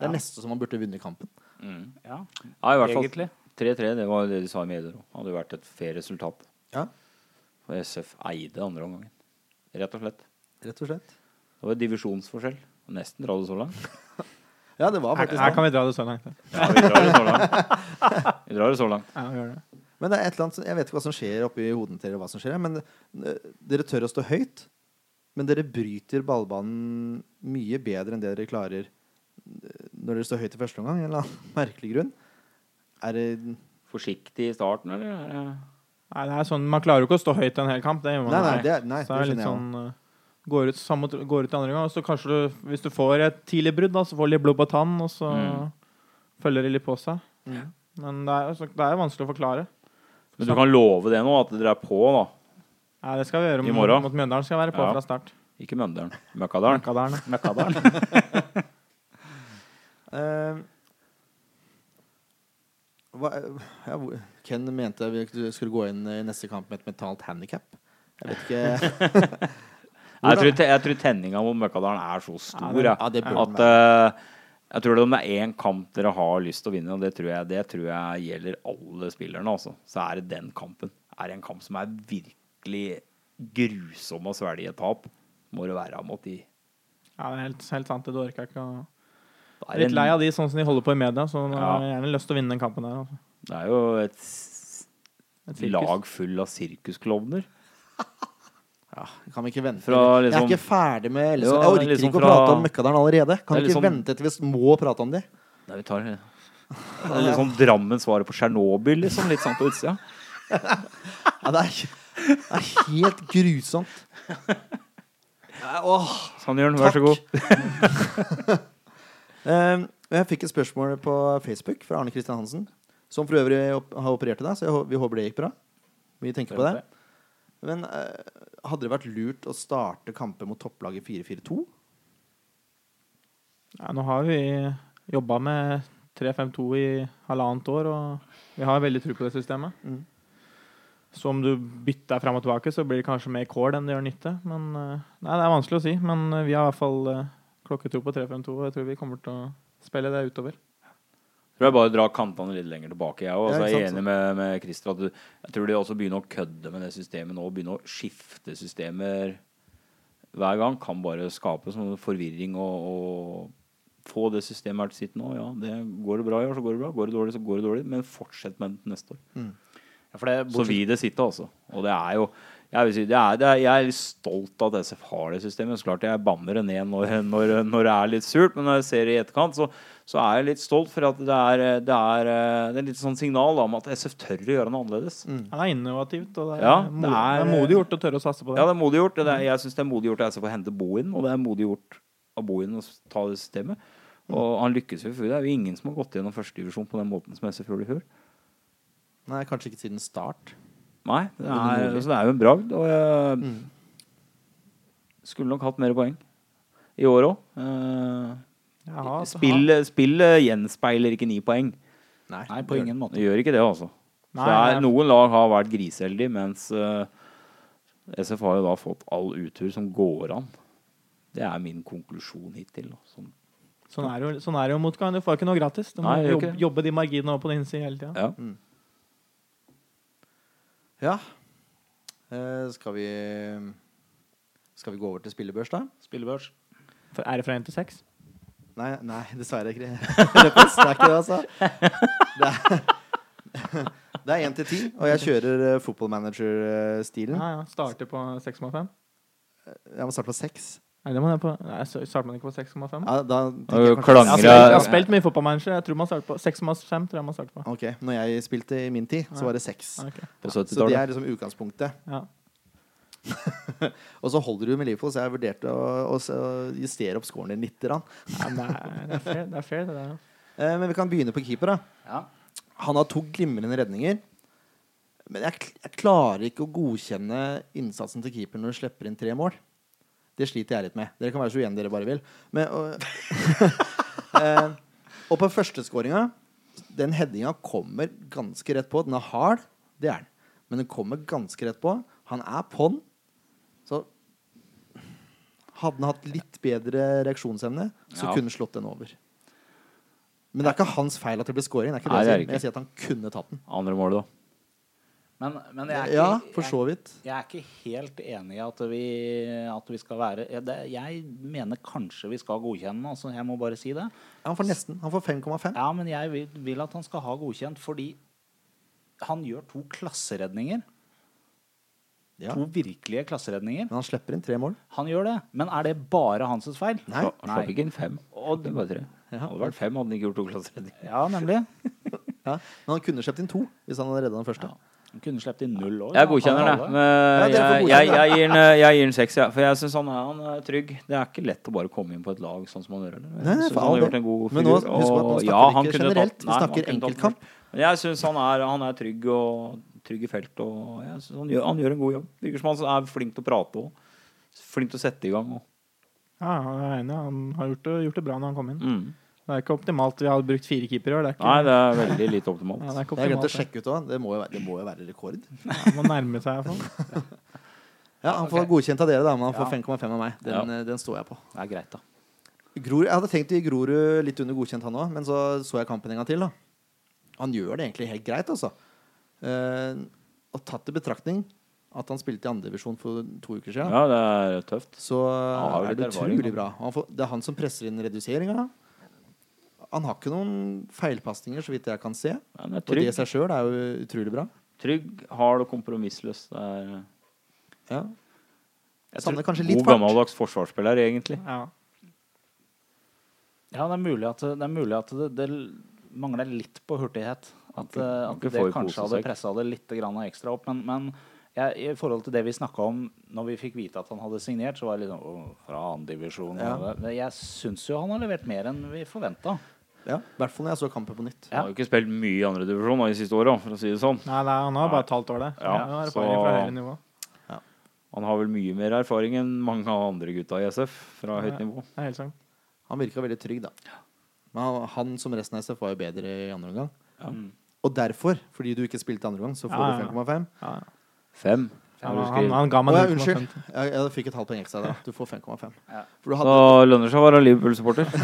Ja.
nesten som man burde vunnet kampen.
Mm.
Ja,
Ja, i hvert fall.
Egentlig.
3-3, det var det de sa i medier òg. Hadde jo vært et fair resultat.
Ja,
For SF eide andre omgangen. Rett og slett.
rett og slett.
Det var divisjonsforskjell. Nesten dra det så langt.
Ja, det var
Her,
faktisk
her
det.
kan vi dra det så langt. da.
Ja, vi drar det så langt. Vi drar det så langt.
Ja, vi gjør det.
Men det er et eller annet som- Jeg vet ikke hva som skjer oppi hodene til dere, hva som skjer, men eh, dere tør å stå høyt. Men dere bryter ballbanen mye bedre enn det dere klarer eh, når dere står høyt i første omgang, av en eller annen merkelig grunn. Er det
Forsiktig i starten, eller? Er det-
Nei, det er sånn, Man klarer jo ikke å stå høyt en hel kamp. Det gjør man
Nei,
ikke.
nei, det, er- nei,
Så er
det
det
skjønner jeg
litt sånn eh, Går ut, samme, går ut andre gang, og så kanskje du, hvis du får et tidlig brudd, da, så får du litt blod på tann, og så
Mm.
følger det litt på seg.
Mm.
Men det er, jo så- det er jo vanskelig å forklare.
Men du kan love det nå, at dere er på, da.
Ja, det skal vi gjøre
I
mot,
morgen.
mot Mjøndalen. Skal jeg være på
Ja.
fra start.
Ikke Møndalen. Møkkadalen.
Møkkadalen.
Møkkadalen.
òg. Eh, hva, ja, hvor- Ken mente vi skulle gå inn i neste kamp med et mentalt handikap. Jeg vet ikke
Jeg tror, jeg tror tenninga mot Møkkadalen er så stor
det-
jeg,
ja, det burde den
at eh, jeg tror det om det er én kamp dere har lyst til å vinne, og det tror jeg, det tror jeg gjelder alle spillerne, altså, så er det den kampen. Er det en kamp som er virkelig grusom å svelge et tap, må det være mot de.
Ja, det er helt, helt sant. Det orker jeg ikke å
Det
Jeg
er,
er Litt lei
en,
av de sånn som de holder på i media, så jeg
Ja.
har gjerne lyst til å vinne den kampen der. Altså.
det er jo et, s-
Et sirkus.
lag full av sirkusklovner.
Kan vi ikke vente?
Fra
jeg er
liksom-
ikke ferdig med LSK.
Jo,
Jeg orker
liksom
ikke å
fra-
prate om Møkkadalen allerede. Kan
Det
vi ikke
er liksom-
vente til vi må prate om de?
Nei, vi tar det. Det er litt sånn Drammen-svaret på Tsjernobyl, liksom. Litt sånn på utsida.
Ja, det, er, det er helt grusomt. Nei, Åh
Sånn, Jørn, vær så god.
Eh, Jeg fikk et spørsmål på Facebook fra Arne Kristian Hansen, som for øvrig opp- har operert til deg, så jeg, hå- vi håper det gikk bra. Vi tenker på det. Men eh, hadde det vært lurt å starte kamper mot topplaget 4-4-2?
Ja, nå har vi jobba med 3-5-2 i halvannet år, og vi har veldig tro på det systemet.
Mm.
Så om du bytter fram og tilbake, så blir det kanskje mer kål enn det gjør nytte. Men eh, Nei, det er vanskelig å si, men eh, vi har i hvert fall eh, klokketro på 3-5-2, og jeg tror vi kommer til å spille det utover.
tror jeg bare drar kantene litt lenger tilbake, jeg òg.
Ja,
Altså,
ikke
jeg er
sant,
enig med, med Christer at du, jeg tror de også begynner å kødde med det systemet nå. Begynner å skifte systemer hver gang. Kan bare skape sånn forvirring og, og få det systemet her til sitt nå. Ja, det går det bra i år, så går det bra. Går det dårlig, så går det dårlig. Men fortsett med det til neste år.
Ja, for det,
Så
bortsett,
vil det sitte, altså. Og det er jo jeg, vil si, det er, det er, jeg er litt stolt av at SF har det systemet. Så klart jeg banner det ned når, når, når det er litt surt, men når jeg ser det i etterkant, så, så er jeg litt stolt for at det er, eh, det er, eh, det er litt sånn signal da, om at SF tør å gjøre noe annerledes.
Ja, det er innovativt, og det er,
Mm. Ja, det
mo- det
er-
er modig gjort å tørre å satse på det.
Ja, det er modig gjort. Det er, jeg syns det er modig gjort av SF å hente Bohin, og det er modig gjort av Bohin å s- ta det systemet. Og han lykkes jo, for det er jo ingen som har gått gjennom førstedivisjon på den måten som SF gjorde i fjor.
Nei, kanskje ikke siden start.
Nei, det er,
mulig.
så det er jo en bragd. Og jeg skulle nok hatt mer poeng i år òg.
Jaha, altså,
Spillet spill gjenspeiler ikke ni poeng.
Nei, på ingen måte.
Det gjør ikke det, altså. Så
Nei,
det er,
nei.
noen lag har vært griseheldige, mens eh, SF har jo da fått all utur som går an. Det er min konklusjon hittil. da, Sånn.
ha- Sånn er det jo- sånn er det jo motgang. Du får ikke noe gratis. Du må
Nei, det gjør
jobbe,
ikke det.
jobbe de marginene over på din side hele tida.
Ja.
Ja. Eh, skal vi Skal vi gå over til spillebørs, da?
Spillebørs.
For- Er det fra 1 til 6?
Nei, nei dessverre ikke. Løpes, det er ikke det, altså. Det er, det er 1 til 10, og jeg kjører uh, fotballmanager-stilen.
Ja, ja. Starter på 6,5?
Jeg må starte på 6.
Nei, det må ned på Nei, så starter man ikke på 6,5?
Ja, da
Og
tenker jeg kanskje
Jeg har
klanger-
spilt- jeg har spilt mye fotballmanager. Jeg tror man starter på 6,5. tror jeg man starter på.
Ok, når jeg spilte i min tid, så var det 6.
Ja, ok.
På
Så det
70-tallet.
er liksom utgangspunktet.
Ja.
Og så holder du med Liverpool, så jeg vurderte å, å, s- å justere opp scoren din litt. grann.
Nei, men det, er, det, er fair, det er fair, det der. ja.
Eh, men vi kan begynne på keeper. da
Ja.
Han har to glimrende redninger. Men jeg, kl- jeg klarer ikke å godkjenne innsatsen til keeper når du slipper inn tre mål. Det sliter jeg litt med. Dere kan være så uenige dere bare vil. Men, og, eh, og på førsteskåringa Den headinga kommer ganske rett på. Den er hard, det er den. Men den kommer ganske rett på. Han er på'n. Så hadde han hatt litt bedre reaksjonsevne, så
Ja.
kunne han slått den over. Men det er ikke hans feil at det ble scoring. Det er ikke
Nei,
det
det er det
jeg sier. Men jeg sier at han kunne tatt den.
Andre målet, da.
Men, men jeg er ikke,
ja, for så vidt.
Jeg er ikke helt enig i at vi, at vi skal være jeg, det, jeg mener kanskje vi skal godkjenne den, altså. Jeg må bare si det.
Han får nesten. Han får 5,5.
Ja, men jeg vil, vil at han skal ha godkjent fordi han gjør to klasseredninger.
Ja.
To virkelige klasseredninger.
Men han slipper inn tre mål.
Han gjør det. Men er det bare hans feil?
Nei.
Han slapp ikke inn fem.
Og-
det var tre. Hadde vært fem, hadde han ikke gjort to klasseredninger.
Ja, nemlig.
Ja. Men han kunne sluppet inn to hvis han hadde redda den første.
Han kunne sluppet inn null år.
Jeg godkjenner det. Men
Ja, dere får
jeg,
godkjenne
jeg,
det.
jeg, gir den, eh, jeg gir den seks, ja. for jeg syns han, er- han er trygg. Det er ikke lett å bare komme inn på et lag sånn som han gjør. eller? Jeg
Nei,
synes
for
han har
all
gjort
del.
en god
Men nå-
figur,
husk på at
og
nå snakker
ja,
vi
han kunne
ikke
tatt-
generelt,
nei,
vi
han
snakker
kunne tatt den
enkeltkamp.
først. Men jeg syns han, er- han er trygg og trygg i felt, og jeg synes han, gjør, han gjør en god jobb. Virker som han er flink til å prate og flink til å sette i gang. Og.
Ja, jeg er enig. Han har gjort det, gjort det bra når han kom inn.
Mm.
Det er ikke optimalt. Vi har brukt fire keepere i år. Det er ikke,
Nei, det er veldig lite
ja,
optimalt.
det er ikke
Jeg glemte å
optimalt.
sjekke ut òg. Det, må jo være- det må jo være rekord.
det. Ja, må nærme seg i hvert fall.
Ja, Han får
Ok.
godkjent av dere, da, men han får
Ja.
5,5 av meg. Den,
Ja.
eh, den står jeg på.
Det er greit, da.
Grorud, jeg hadde tenkt å gi Grorud litt under godkjent, han òg, men så så jeg kampen en gang til. da Han gjør det egentlig helt greit, altså. Eh, og tatt i betraktning at han spilte i andredivisjon for to uker siden,
Ja, det er tøft.
så
Han har jo
er det
litt erfaring,
utrolig
han.
bra. Han får, det er han som presser inn reduseringa. Han har ikke noen feilpasninger, så vidt jeg kan se.
Ja, det er
Og det i
trygg.
seg sjøl er jo utrolig bra.
Trygg, hard og kompromissløs. Det er
Ja. Jeg
tror-
savner kanskje
god,
litt fart.
gammeldags forsvarsspiller, egentlig.
Ja.
Ja, det er mulig at det, det, er mulig at det, det mangler litt på hurtighet. At,
Ikke-
eh, at
ikke
det
for
kanskje
kose
hadde
seg.
pressa det litt grann ekstra opp. Men, men jeg, i forhold til det vi snakka om når vi fikk vite at han hadde signert, så var jeg litt sånn «Åh, fra andredivisjon
Ja.
Men jeg syns jo han har levert mer enn vi forventa.
Ja, I hvert fall når jeg så kampen på nytt.
Ja.
Han har jo ikke spilt mye i andredivisjon de siste åra, for å si det sånn.
Nei, det er, han har bare et halvt år, det.
Ja,
Ja, har erfaring
så-
fra høyere nivå.
Han har vel mye mer erfaring enn mange av andre gutta i SF fra høyt nivå.
Det er helt sant.
Han virka veldig trygg, da. Men han, han som resten av SF var jo bedre i andre omgang.
Ja.
Og derfor, fordi du ikke spilte i andre omgang, så får
Mm. Ja, ja.
du 5,5.
Ja.
Fem.
Han,
har du
han,
skrevet.
han ga
Å
meg
ja,
0,5.
unnskyld. Jeg, jeg fikk et halvt poeng ekstra der. Du får 5,5.
Ja.
For du hadde
Da lønner det seg å være Liverpool-supporter.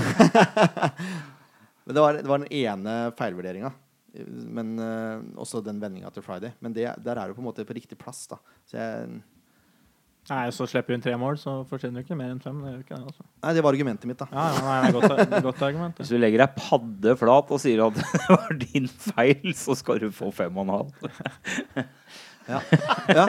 Men det var, det var den ene feilvurderinga. Men eh, også den vendinga til Friday. Men det, der er du på en måte på riktig plass, da. Så jeg,
Nei, så slipper hun tre mål, så forsvinner jo ikke mer enn fem. Det gjør ikke det, altså.
nei, det var argumentet mitt, da.
Ja, ja, nei, det er godt, godt argument.
Hvis
det.
du legger deg padde flat og sier at det var din feil, så skal du få fem og en halv.
Ja. ja.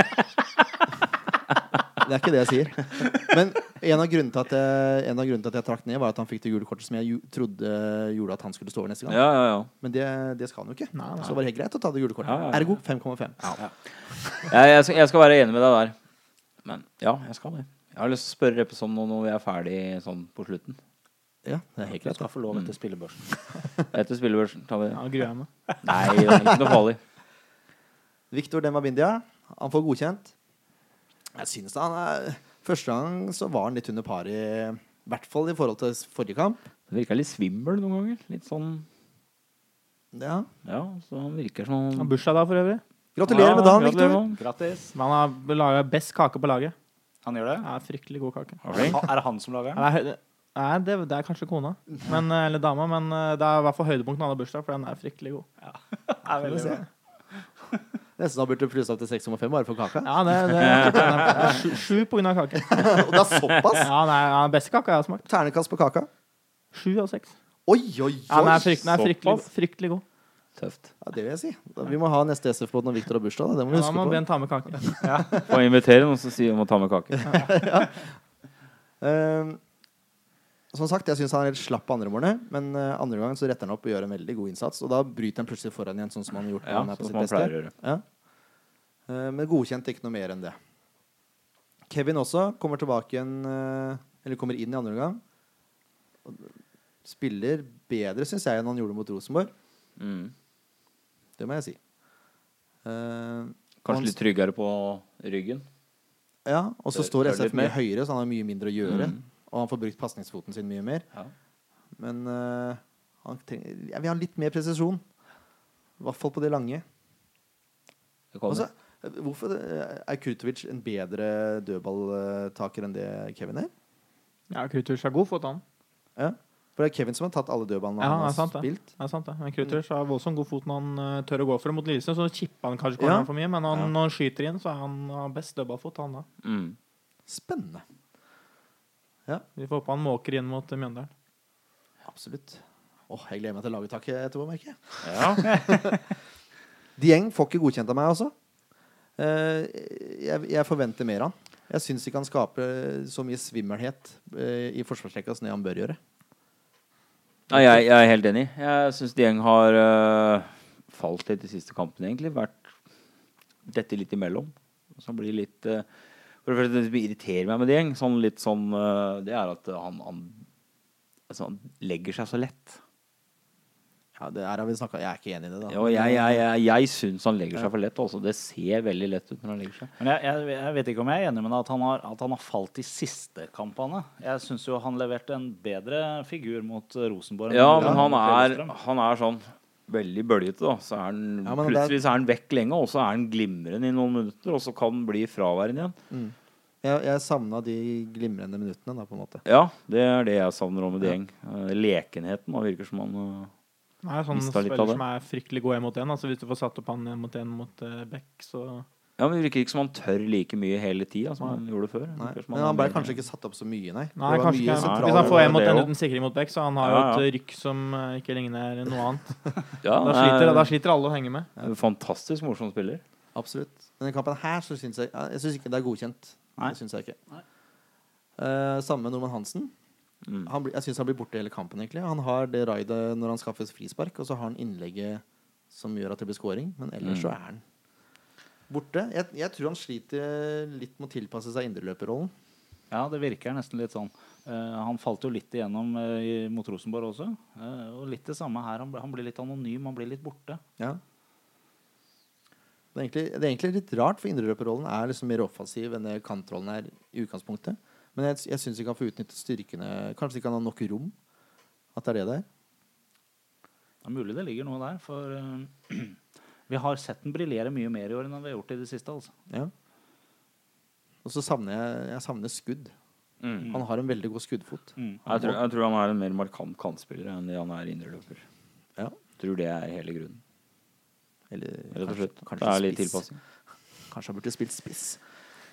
Det er ikke det jeg sier. Men En av grunnene til at jeg, en av grunnene til at jeg trakk ned, var at han fikk det gule kortet som jeg ju- trodde gjorde at han skulle stå over neste gang.
Ja, ja, ja.
Men det, det skal han jo ikke.
Nei, nei.
Så var det helt greit å ta det gule kortet.
Ja, ja, ja.
Ergo 5,5.
Jeg, jeg, skal, jeg skal være enig med deg der. Men ja, jeg skal det. Jeg har lyst til å spørre Reppes om noe når vi er ferdig sånn på slutten.
Ja, det er helt
Jeg
greit.
skal få lov etter spillebørsen.
Etter spillebørsen tar vi det.
Ja, gruer jeg meg.
Nei, det er ikke noe farlig.
Victor Demabindia, han får godkjent. Jeg synes han er Første gang så var han litt under par i hvert fall i forhold til s- forrige kamp.
Det virka litt svimmel noen ganger. Litt sånn
Ja.
Ja, så han virker som
Han har bursdag da, for øvrig.
Gratulerer med dagen,
Ja, gratulerer
Victor.
med dagen.
Grattis.
Men han har laga best kake på laget.
Han gjør det?
Ja, fryktelig god kake.
Var
Er det
flink.
han- er det han som lager den?
Nei, det, nei, det, det er kanskje kona, men, eh, eller dama, men eh, det er i hvert fall høydepunktet når han har bursdag, for den er fryktelig god.
Er veldig
se.
bra.
Nesten han burde plusse opp til 6,5 bare for kaka.
Ja, det, det, det er sju- sju på grunn av kake.
Og det er såpass!
Ja, nei, ja, den beste kaka jeg har smakt.
Ternekast på kaka.
Sju av seks.
Oi, oi,
Ja, den
oi!
er, fryktelig, den er fryktelig,
såpass.
fryktelig god.
Tøft.
Ja, det vil jeg si. Da- Vi må ha neste SF-båt når Victor har bursdag. Da. Det må vi
Ja, da
huske
må
på.
Ben ta med kake.
Få invitere noen som sier om å ta med kake.
Eh, som sagt, jeg syns han er helt slapp på andre målene, men eh, andre gangen så retter han opp og gjør en veldig god innsats. Og da bryter han plutselig foran igjen, sånn som han har gjort når
Ja,
han er
sånn
på
som
sitt
han
beste.
pleier å gjøre.
Ja. Eh, men godkjent ikke noe mer enn det. Kevin også kommer tilbake igjen eh, Eller kommer inn i andre omgang. Og Spiller bedre, syns jeg, enn han gjorde mot Rosenborg.
Mm.
Det må jeg si. Eh,
Kanskje litt tryggere på ryggen.
Ja, og så
Tør-
står
tør litt
SF mye
mer.
høyere, så han har mye mindre å gjøre.
Mm.
Og han får brukt pasningsfoten sin mye mer.
Ja.
Men eh, han trenger, jeg vil ha litt mer presisjon. I hvert fall på det lange.
Det
Og
kommer.
så, eh, hvorfor eh, er Kurtovic en bedre dødballtaker enn det Kevin er?
Ja, Krutovic er god fot, han.
Ja. For det er Kevin som har tatt alle dødballene
Ja,
han
det er
har
sant, det.
spilt.
Det er sant, det. Men Krutovic har voldsomt god fot når han eh, tør å gå for det mot Lillesund. Så chipper han
Ja.
kanskje corneren for mye, men han,
Ja.
når han skyter inn, så er han har best dødballfot, han da.
Mm.
Spennende.
Vi får håpe han måker inn mot eh, Mjøndalen.
Absolutt. Åh, jeg gleder meg til laguttaket etterpå, merker jeg.
Ja.
Dieng får ikke godkjent av meg altså. også. Eh, jeg, jeg forventer mer av han. Jeg syns ikke han skaper eh, så mye svimmelhet eh, i forsvarsrekka som det han bør gjøre.
Nei, jeg, jeg er helt enig. Jeg syns Dieng har øh, falt litt de siste kampene, egentlig. Vært dette litt imellom. Så han blir litt øh, For det første, det som irriterer meg med Dieng, sånn litt sånn øh, Det er at øh, han, han Altså, han legger seg så lett.
Ja, det her har vi snakket. Jeg er ikke enig i det. da
Jo, jeg jeg, jeg, jeg syns han legger seg for lett. Også. Det ser veldig lett ut når han legger seg.
Men jeg, jeg, jeg vet ikke om jeg er enig med deg at han har, at han har falt de siste kampene. Jeg syns jo han leverte en bedre figur mot eh, Rosenborg. enn
Ja,
han
men
gjorde
han
mot
er,
Lillestrøm.
han er sånn veldig bøljete, da. Så er han,
Ja, men det er-
plutselig så er han vekk lenge, og så er han glimrende i noen minutter, og så kan han bli fraværende igjen.
Jeg, jeg savna de glimrende minuttene, da, på en måte.
Ja, det er det jeg savner om med Dieng. Eh, Lekenheten. Han virker som han eh,
Han er jo sånn
Mistet litt av
spiller
det.
som er fryktelig god én mot én. Altså, hvis du får satt opp han én mot én mot eh, Beck, så
Ja, men Det virker ikke som han tør like mye hele tida som han gjorde før. Det
Nei.
virker som
Men han ble
er-
kanskje ikke satt opp så mye, nei.
Nei,
det var
kanskje
mye
ikke.
sentrale-
Hvis han får en mot
Det
en
jo.
uten sikring mot Beck, så han har jo
Ja, ja.
et rykk som eh, ikke ligner noe annet.
ja,
Da sliter,
eh,
da sliter alle å henge med.
en Fantastisk morsom spiller.
Absolutt. Denne kampen her så syns jeg ja, Jeg syns ikke det er godkjent.
Nei.
Det syns jeg ikke.
Nei.
Eh, samme med Norman Hansen.
Mm.
Han blir, jeg syns han blir borte hele kampen, egentlig. Han har det raidet når han skaffes frispark, og så har han innlegget som gjør at det blir scoring, men ellers
Mm.
så er han borte. Jeg, jeg tror han sliter litt med å tilpasse seg indreløperrollen.
Ja, det virker nesten litt sånn. Eh, han falt jo litt igjennom eh, i- mot Rosenborg også. Eh, og litt det samme her. Han, ble- han blir litt anonym, han blir litt borte.
Ja. Det er, egentlig, det er egentlig litt rart, for indreløperrollen er liksom mer offensiv enn det kantrollen er i utgangspunktet. Men jeg, jeg syns ikke han får utnyttet styrkene Kanskje ikke han har nok rom. At det er det der.
Det er mulig det ligger noe der, for eh, vi har sett den briljere mye mer i år enn vi har gjort i det siste. altså.
Ja. Og så savner jeg, jeg savner skudd.
Mm.
Han har en veldig god skuddfot.
Mm.
Jeg, tror, jeg tror han er en mer markant kantspiller enn det han er indreløper.
Ja.
Tror det er hele grunnen.
Eller
Rett og slett.
kanskje
det er litt
spiss.
tilpassing.
Kanskje han burde spilt spiss.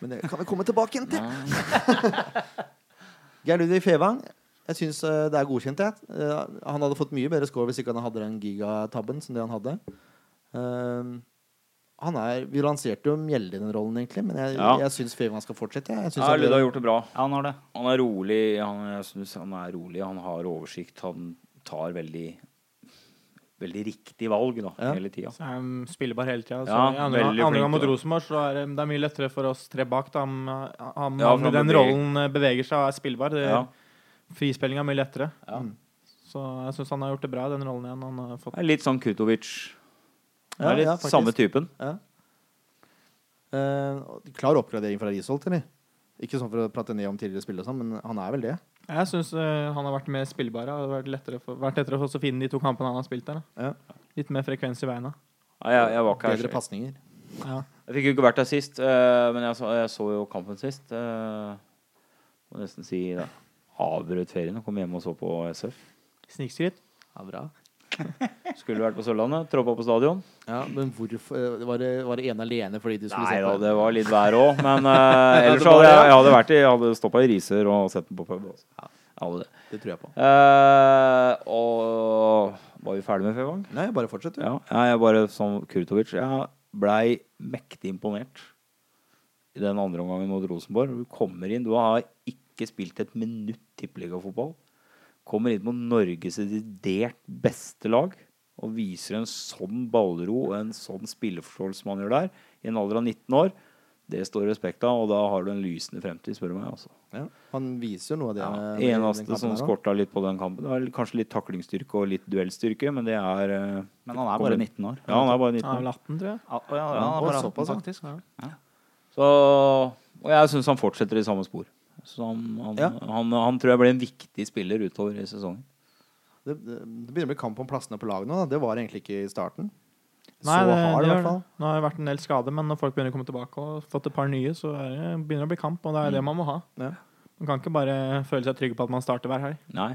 Men det kan vi komme tilbake igjen til.
Ja.
Geir Ludvig Fevang, jeg syns det er godkjent. Jeg. Eh, han hadde fått mye bedre score hvis ikke han hadde den gigatabben som det han hadde. Eh, han er, Vi lanserte jo Mjelde i den rollen, egentlig, men jeg,
Ja.
jeg syns Fevang skal fortsette. Jeg, jeg synes
Ja,
han-
Ludde har gjort det bra.
Ja, han har det.
Han er rolig. Han, jeg synes han er rolig. Han har oversikt. Han tar veldig Veldig riktig valg da,
Ja.
hele tida.
Så er de spillbar hele tida.
Ja,
Ja, andre
veldig
gang
flink,
mot
da.
Rosenborg så er det, det er mye lettere for oss tre bak. Da. Han, han,
Ja,
han
for
i den
han beveger-
rollen eh, beveger seg og er spillbar.
Eh,
Det,
Ja.
Frispillinga er mye lettere. Mm.
Ja.
Så jeg syns han har gjort det bra i den rollen igjen. Han har fått
Det er litt sånn Kutovic. Det
Ja,
er litt
ja, faktisk.
samme typen.
Ja. Eh, og klar oppgradering fra Risholt, eller? Ikke sånn for å prate ned om tidligere spill og sånn, men han er vel det.
Jeg syns han har vært mer spillbar. ja. Det har vært lettere for, vært lettere for oss å finne de to kampene han har spilt der. Da.
Ja.
Litt mer frekvens i beina.
Ja, jeg, jeg var ikke her
Bedre pasninger.
Ja.
Jeg fikk jo ikke vært der sist, eh, men jeg så, jeg så jo kampen sist. eh, må nesten si da. avbrøt ferien og kom hjem og så på SF.
Snikskryt.
Ja, bra.
Skulle vært på Sørlandet, troppa på stadion.
Ja, men hvorfor eh, Var det, var det ene alene fordi du skulle
Nei
se
da,
på
det var litt vær òg, men eh, ellers
det
så hadde
var det,
jeg, jeg
ja.
hadde vært i, jeg hadde stoppa i Riser og sett den på pub. Altså. Jeg hadde det.
Det tror jeg på.
Eh, og var vi ferdig med Fevang?
Nei, bare fortsett, du.
Ja, jeg er bare som Kurtovic. Jeg blei mektig imponert i den andre omgangen mot Rosenborg. Du kommer inn, du har ikke spilt et minutt tippeligafotball. Kommer inn mot Norges desidert beste lag og viser en sånn ballro og en sånn spilleforståelse som han gjør der, i en alder av 19 år. Det står respekt av, og da har du en lysende fremtid, spør du meg. altså.
Ja. Han viser jo noe av det.
Ja,
med- med den
eneste
kampen
som
her, da.
skorta litt på den kampen, det var kanskje litt taklingsstyrke og litt duellstyrke, men det er eh,
Men han er
kommer-
bare 19 år.
Ja, han er bare 19
Han
år.
er vel 18, tror jeg.
Ja, og ja, ja, han
Å,
er bare 18,
såpass, ja.
faktisk.
Så, og jeg syns han fortsetter i samme spor. Så han, han,
Ja.
han, han tror jeg blir en viktig spiller utover i sesongen.
Det, det det begynner å bli kamp om plassene på laget nå. Da. Det var egentlig ikke i starten.
Nei,
så
det,
hard, i
det
hvert
gjør
fall.
det. Nå har det vært en del skade, men når folk begynner å komme tilbake og fått et par nye, så er det, begynner det å bli kamp, og det
Mm.
er det man må ha.
Ja.
Man kan ikke bare føle seg trygg på at man starter hver helg.
Nei.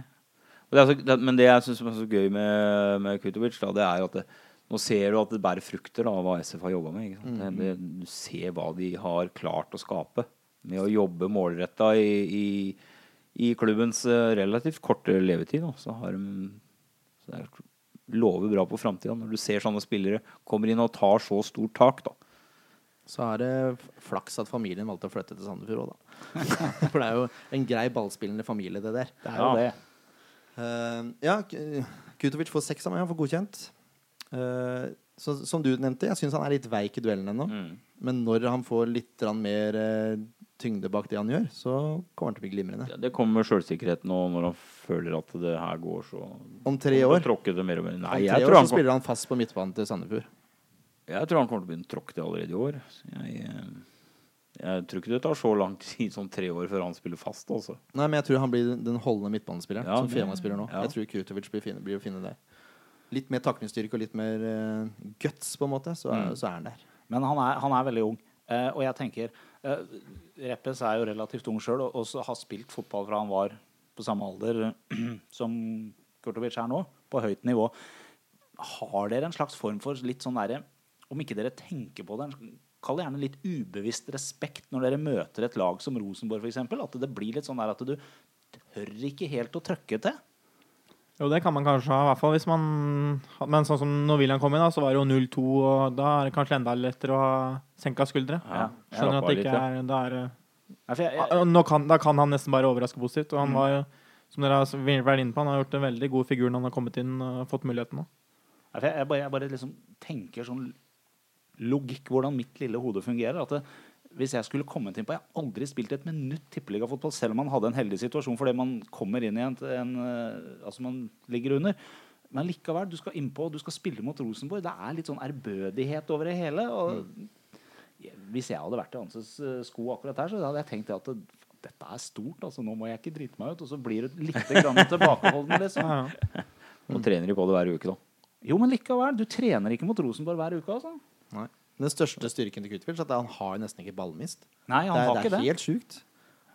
Og det er så, det, men det jeg syns er så gøy med, med Kutovic, da, det er jo at det, nå ser du at det bærer frukter da, av hva SF har jobba med. Ikke sant?
Mm.
Det, det, du ser hva de har klart å skape med å jobbe målretta i, i, i klubbens eh, relativt korte levetid. Da, så har de så det er, lover bra på framtida når du ser sånne spillere kommer inn og tar så stort tak. da
Så er det f- flaks at familien valgte å flytte til Sandefjord òg, da. For det er jo en grei ballspillende familie, det der.
Det er jo
Ja.
det.
Eh, ja, K- Kutovic får seks av meg, han får godkjent. Eh, så, som du nevnte, jeg syns han er litt veik i duellen ennå.
Mm.
Men når han får litt grann mer eh, tyngde bak det han gjør, så kommer han til å bli glimrende.
Ja, det kommer med sjølsikkerheten og når han føler at det her går så
Om tre
kommer
år,
til å tråkke det mer og mer. Nei,
om tre
jeg
år
tror,
så
han kom,
spiller han fast på midtbanen til Sandefjord.
jeg tror han kommer til å begynne å tråkke det allerede i år. Så Jeg, eh, jeg tror ikke det tar så lang tid som tre år før han spiller fast, altså.
Nei, men jeg tror han blir den holdende midtbanespilleren
Ja,
som
det-
Fehmarn spiller nå.
ja.
Jeg tror Kutovic blir, fin, blir å finne der. Litt mer taklingsstyrke og litt mer eh, guts, på en måte, så,
Mm.
er- så er han der.
Men han er, han er veldig ung. Eh, og jeg tenker uh, Reppes er jo relativt ung sjøl og, og så har spilt fotball fra han var på samme alder som Kurtovic er nå, på høyt nivå. Har dere en slags form for litt sånn derre Om ikke dere tenker på det, en- kall det gjerne litt ubevisst respekt når dere møter et lag som Rosenborg f.eks. At det blir litt sånn der at du tør ikke helt å trøkke til.
Jo, det kan man kanskje ha, i hvert fall hvis man Men sånn som når William kom inn, da, så var det jo 0-2, og da er det kanskje enda lettere å ha senka skuldre.
Ja,
Skjønner at det ikke er, da er det-
Nei, for jeg- jeg-
Ah, Nå kan, da kan han nesten bare overraske positivt. Og han var jo, som dere har vært inne på, han har gjort en veldig god figur når han har kommet inn og fått muligheten nå.
Nei, for Jeg, jeg, bare, jeg bare liksom tenker sånn logikk, hvordan mitt lille hode fungerer. At det, hvis jeg skulle kommet inn på Jeg har aldri spilt et minutt tippeligafotball, selv om man hadde en heldig situasjon fordi man kommer inn i en, en eh, Altså, man ligger under. Men likevel, du skal innpå, og du skal spille mot Rosenborg. Det er litt sånn ærbødighet over det hele.
Mm.
Og jeg- hvis jeg hadde vært i Hanses eh, sko akkurat her, så hadde jeg tenkt at det, dette er stort, altså. Nå må jeg ikke drite meg ut. Og så blir du litt grann tilbakeholden, liksom.
Ja, ja.
Og trener de på det hver uke, da.
Jo, men likevel. Du trener ikke mot Rosenborg hver uke, altså.
Nei. Den største styrken til Kutovic er at han har nesten ikke ballmist.
Nei, han
det er,
har
det er
ikke det.
helt sjukt.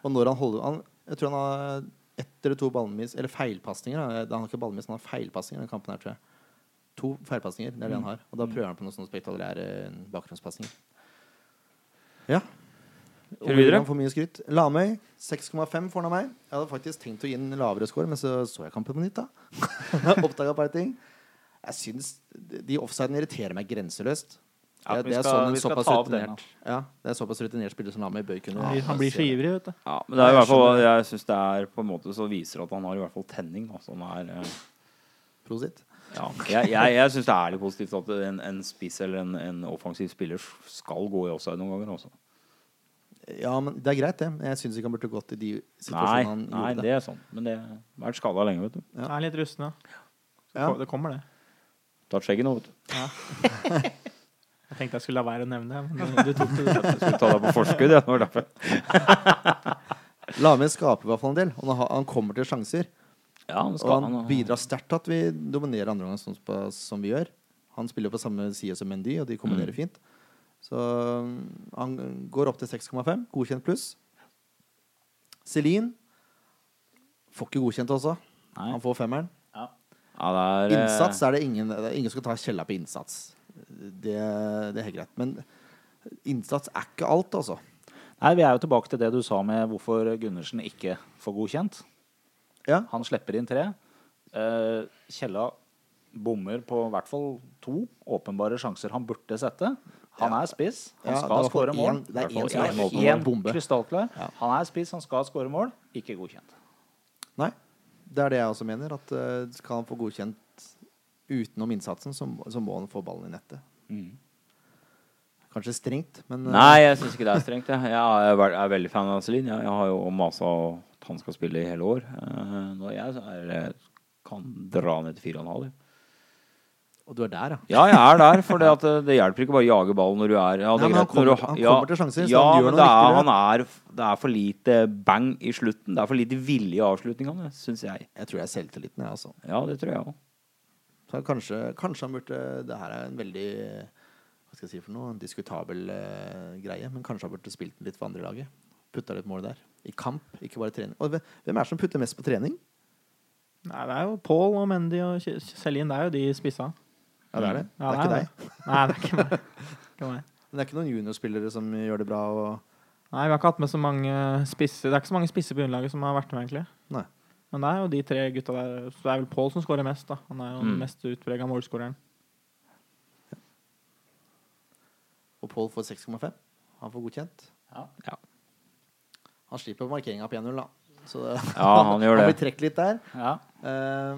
Og når han holder han, Jeg tror han har ett eller to ballmist Eller feilpasninger. da. Han har ikke ballmist, han har feilpasninger i denne kampen her, tror jeg. To feilpasninger, det er det
Mm.
han har. Og da prøver han på noen sånne spektakulære eh, bakgrunnspasninger. Ja.
Kjører vi videre?
Han får mye skryt. Lamøy 6,5 får han av meg. Jeg hadde faktisk tenkt å gi en lavere score, men så så jeg kampen på nytt, da. Oppdaga et par ting. Jeg syns de offsidene irriterer meg grenseløst.
Ja,
det,
vi
det er
skal-
sånn en
vi skal
såpass
ta opp den,
rutinert ja, Det er såpass rutinert spiller som Lamy bør kunne
Han blir så ivrig, vet du.
Ja, men det er i hvert fall Jeg syns det er på en måte så viser at han har i hvert fall tenning. Da, så han er eh,
Prosit.
Ja, jeg jeg, jeg syns det er litt positivt at en, en spiss eller en, en offensiv spiller skal gå i offside noen ganger. altså. Også.
Ja, men det er greit, det. Jeg syns ikke han burde gått i de
Nei,
situasjonene han
nei,
gjorde.
det er sånn. Men det har vært skada lenge, vet du.
Ja.
Han er litt rusten, ja.
Ja.
Det kommer, det.
Tatt skjegget nå, vet du.
Jeg tenkte jeg skulle la være å nevne det, men du tok det.
Jeg skulle ta deg på forskudd. Ja, det var derfor.
Lamy skaper i hvert fall en del. og Han, har- han kommer til sjanser.
Ja, men
Og
skal,
han bidrar sterkt til at vi dominerer andre gangen sånn på- som vi gjør. Han spiller jo på samme side som Mendy, og
Mm.
de kombinerer fint. Så mm, han går opp til 6,5. Godkjent pluss. Celine får ikke godkjent også.
Nei.
Han får femmeren.
Ja, det er, eh,
Innsats er det ingen det er Ingen som kan ta kjella på innsats. Det, det er helt greit. Men innsats er ikke alt, altså.
Nei, vi er jo tilbake til det du sa med hvorfor Gundersen ikke får godkjent.
Ja.
Han slipper inn tre. Eh, Kjella bommer på i hvert fall to åpenbare sjanser han burde sette. Han er spiss.
Ja, det er
Han
i
skal
hvert fall
skåre mål.
én- det er
I hvert fall
én som er
én
mål på en bombe.
Krystallklar.
Ja.
Han er spiss, han skal skåre mål. Ikke godkjent.
Nei. Det er det jeg også mener. At eh, skal han få godkjent utenom innsatsen, så, må- så må han få ballen i nettet. Kanskje strengt, men eh,
Mm. Nei, jeg syns ikke det er strengt. Jeg, jeg er, vel- er veldig fan av Celine. Jeg, jeg har jo masa om at han skal spille i hele år. Eh, Når jeg er, kan dra ned til fire og en halv. jeg.
Og du er der, ja.
Ja, jeg er der, for det, at eh, det- det hjelper ikke bare å jage ballen når du er ja, det er
Nei, men han
greit når du
kommer-
ha-
han
ja,
kommer til sjanser, så
Ja,
han gjør
men
noe
det
riktig,
er, han er, det er for lite bang i slutten. Det er for lite vilje i avslutningene, syns jeg.
Jeg tror jeg er selvtilliten, jeg, altså.
Ja, det tror jeg òg.
Så kanskje, kanskje han burde Det her er en veldig Hva skal jeg si for noe? En diskutabel eh, greie. Men kanskje han burde spilt litt for andre laget. Putta litt mål der. I kamp, ikke bare trening. Og hvem hvem er det som putter mest på trening?
Nei, det er jo Paul og Mendy og Kj- Celine. Det er jo de spissa.
Ja, det er det.
Mm. Ja,
det er ikke
det.
deg.
Nei, det er ikke meg. Ikke meg.
Men det er ikke noen juniorspillere som gjør det bra. Og...
Nei, vi har ikke hatt med så mange spisser. Det er ikke så mange spisser på underlaget som har vært med, egentlig.
Nei.
Men det er jo de tre gutta der. Så det er vel Paul som skårer mest, da. Han er jo den
Mm.
mest utprega målskåreren.
og Paul får 6,5. Han får godkjent.
Ja.
Ja.
Han slipper markeringa på 1-0, da. Så det,
Ja, han gjør
Han
det.
blir trukket litt der.
Ja.
Eh,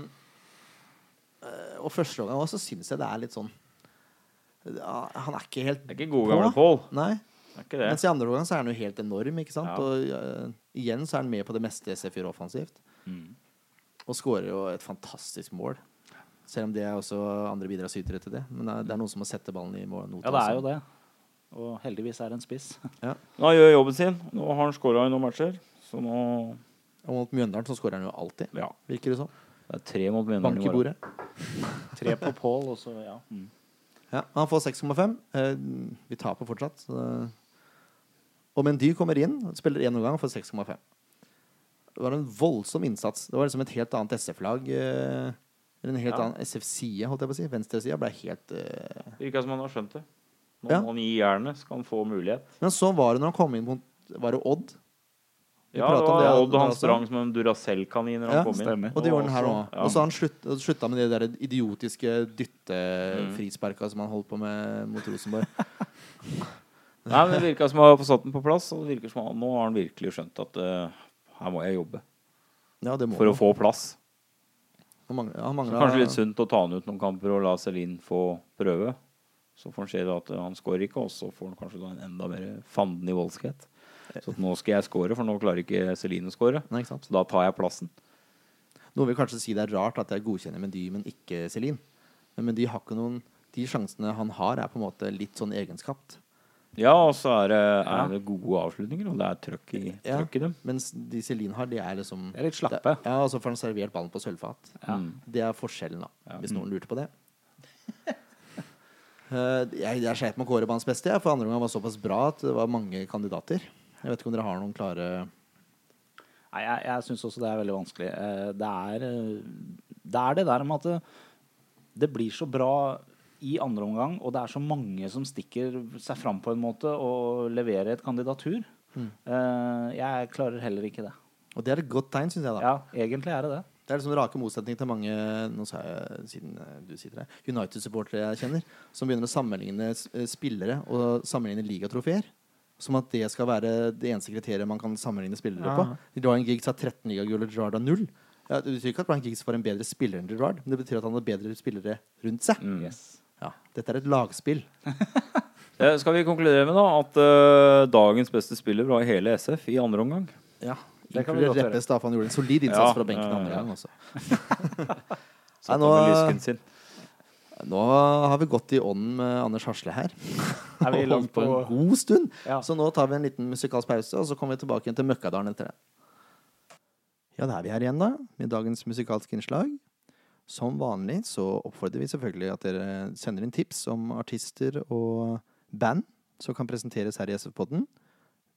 eh, og første gangen også syns jeg det er litt sånn ja, Han er ikke helt
Det er ikke gode
På?
gamle Pål.
Nei.
Det er ikke det.
Mens i andre omgang så er han jo helt enorm, ikke sant?
Ja.
Og eh, igjen så er han med på det meste SF gjør offensivt.
Mm.
Og skårer jo et fantastisk mål. Selv om det er også andre bidragsytere til det. Men det er, det er noen som må sette ballen i mål.
ja, det er jo det. Og heldigvis er det en spiss.
Nå gjør jobben sin. Nå har han skåra i noen matcher. Så nå
Og mot Mjøndalen så skårer han jo alltid,
Ja.
virker det som.
Det er tre mot Mjøndalen
Bank i
morgen.
bordet.
Tre på Pål, og så ja. Mm.
Ja, han får 6,5. Eh, vi taper fortsatt. Så det... Og Mendy kommer inn, spiller én omgang og får 6,5. Det var en voldsom innsats. Det var liksom et helt annet SF-lag. eh, Eller en helt
Ja.
annen SF-side, holdt jeg på å si. Venstresida ble helt eh,
Det virker som han har skjønt det. Nå
Ja.
må han gi jernet, så skal han få mulighet.
Men sånn var det når han kom inn mot Var det Odd? Vi
Ja, det
pratet om
var
det,
Odd han
Andreas,
sprang som en Duracell-kanin da
Ja,
han kom inn.
stemmer.
Og det gjorde han her
også-
òg.
ja. Mm.
Og så har han slutt, slutta med de der idiotiske dyttefrisparka som han holdt på med mot Rosenborg.
Nei, men Det virka som han har satt den på plass, og det virker som han, nå har han virkelig skjønt at eh, her må jeg jobbe
Ja, det må
for å
han.
få plass.
Han mang-
Så
han mangla
kanskje litt sunt å ta han ut noen kamper og la Celine få prøve. Så får han se da at eh, han skårer ikke, og så får han kanskje da en enda mer fanden i voldskhet. Så at nå skal jeg skåre, for nå klarer ikke Celine å skåre.
Nei, ikke sant?
Så da tar jeg plassen.
Noen vil kanskje si det er rart at jeg godkjenner Mendy, men ikke Celine. Men Mendy har ikke noen De sjansene han har, er på en måte litt sånn egenskapt.
Ja, og så er det, er det gode avslutninger, og det er trøkk i,
Ja.
trøkk i dem.
Mens de Celine har, de er liksom
Det er litt slappe.
Ja, og så får han servert ballen på sølvfat. Det er forskjellen, da. Hvis noen lurte på det. Eh, jeg jeg sleit med å kåre banens beste, jeg, for andre omgang var såpass bra at det var mange kandidater. Jeg vet ikke om dere har noen klare
Nei, jeg, jeg syns også det er veldig vanskelig. Eh, Det er, eh, det er det der med at det, det blir så bra i andre omgang, og det er så mange som stikker seg fram på en måte og leverer et kandidatur.
Mm.
Eh, Jeg klarer heller ikke det.
Og det er et godt tegn, syns jeg, da.
Ja, egentlig er det det.
Det er liksom rake motsetning til mange nå sa jeg, siden eh, du sitter her, United-supportere jeg kjenner, som begynner å sammenligne s- eh, spillere og sammenligne ligatrofeer. Som at det skal være det eneste kriteriet man kan sammenligne spillere
Ja.
på. Ryan Giggs har 13 ligagull, og Gerrard har null. Ja, det betyr ikke at Ryan Giggs var en bedre spiller enn Gerrard, men det betyr at han hadde bedre spillere rundt seg.
Mm.
Ja, Dette er et lagspill.
Eh, Skal vi konkludere med da at eh, dagens beste spiller var hele SF i andre omgang?
Ja,
Det kan vi
Inkludert
godt gjøre.
Reppes, da, for han gjorde en solid innsats
Ja,
fra benken
ja,
andre
ja.
gang også.
Satt
Nei, nå- eh,
over lysken sin.
Nå har vi gått i ånden med Anders Hasle her.
Er vi
Og
langt
holdt på
på-
en god stund.
Ja.
Så nå tar vi en liten musikalsk pause, og så kommer vi tilbake igjen til Møkkadalen etter det. Ja, da er vi her igjen, da, med dagens musikalske innslag. Som vanlig så oppfordrer vi selvfølgelig at dere sender inn tips om artister og band som kan presenteres her i SF-podden.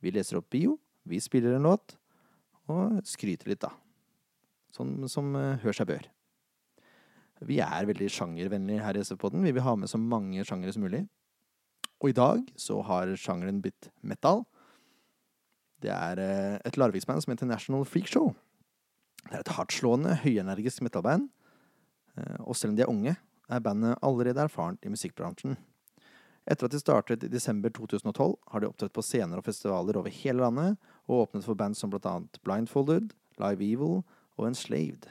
Vi leser opp bio, vi spiller en låt, og skryter litt, da. Sånn som eh, hør seg bør. Vi er veldig sjangervennlige her i SF-podden. Vi vil ha med så mange sjangere som mulig. Og i dag så har sjangeren blitt metal. Det er eh, et Larviksband som heter National Freak Show. Det er et hardtslående, høyenergisk metalband. Eh, Og selv om de er unge, er bandet allerede erfarent i musikkbransjen. Etter at de startet i desember 2012, har de opptrådt på scener og festivaler over hele landet, og åpnet for band som bl.a. Blindfolded, Live Evil og Enslaved.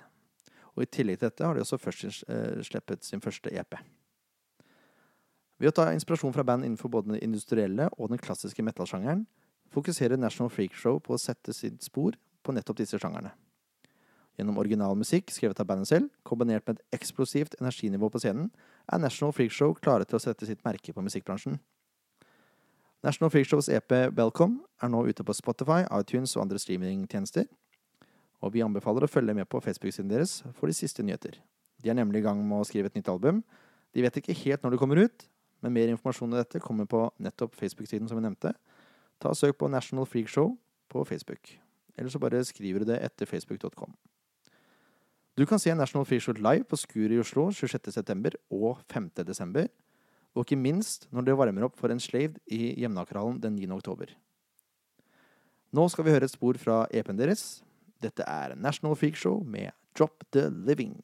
Og I tillegg til dette har de også først eh, sluppet sin første E EP. Ved å ta inspirasjon fra band innenfor både den industrielle og den klassiske metal-sjangeren, fokuserer National Freak Show på å sette sitt spor på nettopp disse sjangerne. Gjennom original musikk skrevet av bandet selv, kombinert med et eksplosivt energinivå på scenen, er National Freak Show klare til å sette sitt merke på musikkbransjen. National Freak Shows EP Welcome er nå ute på Spotify, iTunes og andre streamingtjenester, og vi anbefaler å følge med på Facebook-siden deres for de siste nyheter. De er nemlig i gang med å skrive et nytt album. De vet ikke helt når det kommer ut, men mer informasjon om dette kommer på nettopp Facebook-siden som vi nevnte. Ta og Søk på National Freak Show på Facebook. Eller så bare skriver du det etter facebook.com. Du kan se National Freak Show live på Skuret i Oslo 26.9. og 5.12. Og ikke minst når det varmer opp for Enslaved i Jevnakerhallen den 9.10. Nå skal vi høre et spor fra EP-en deres. Dette er National Freak Show med Drop The Living.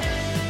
Thank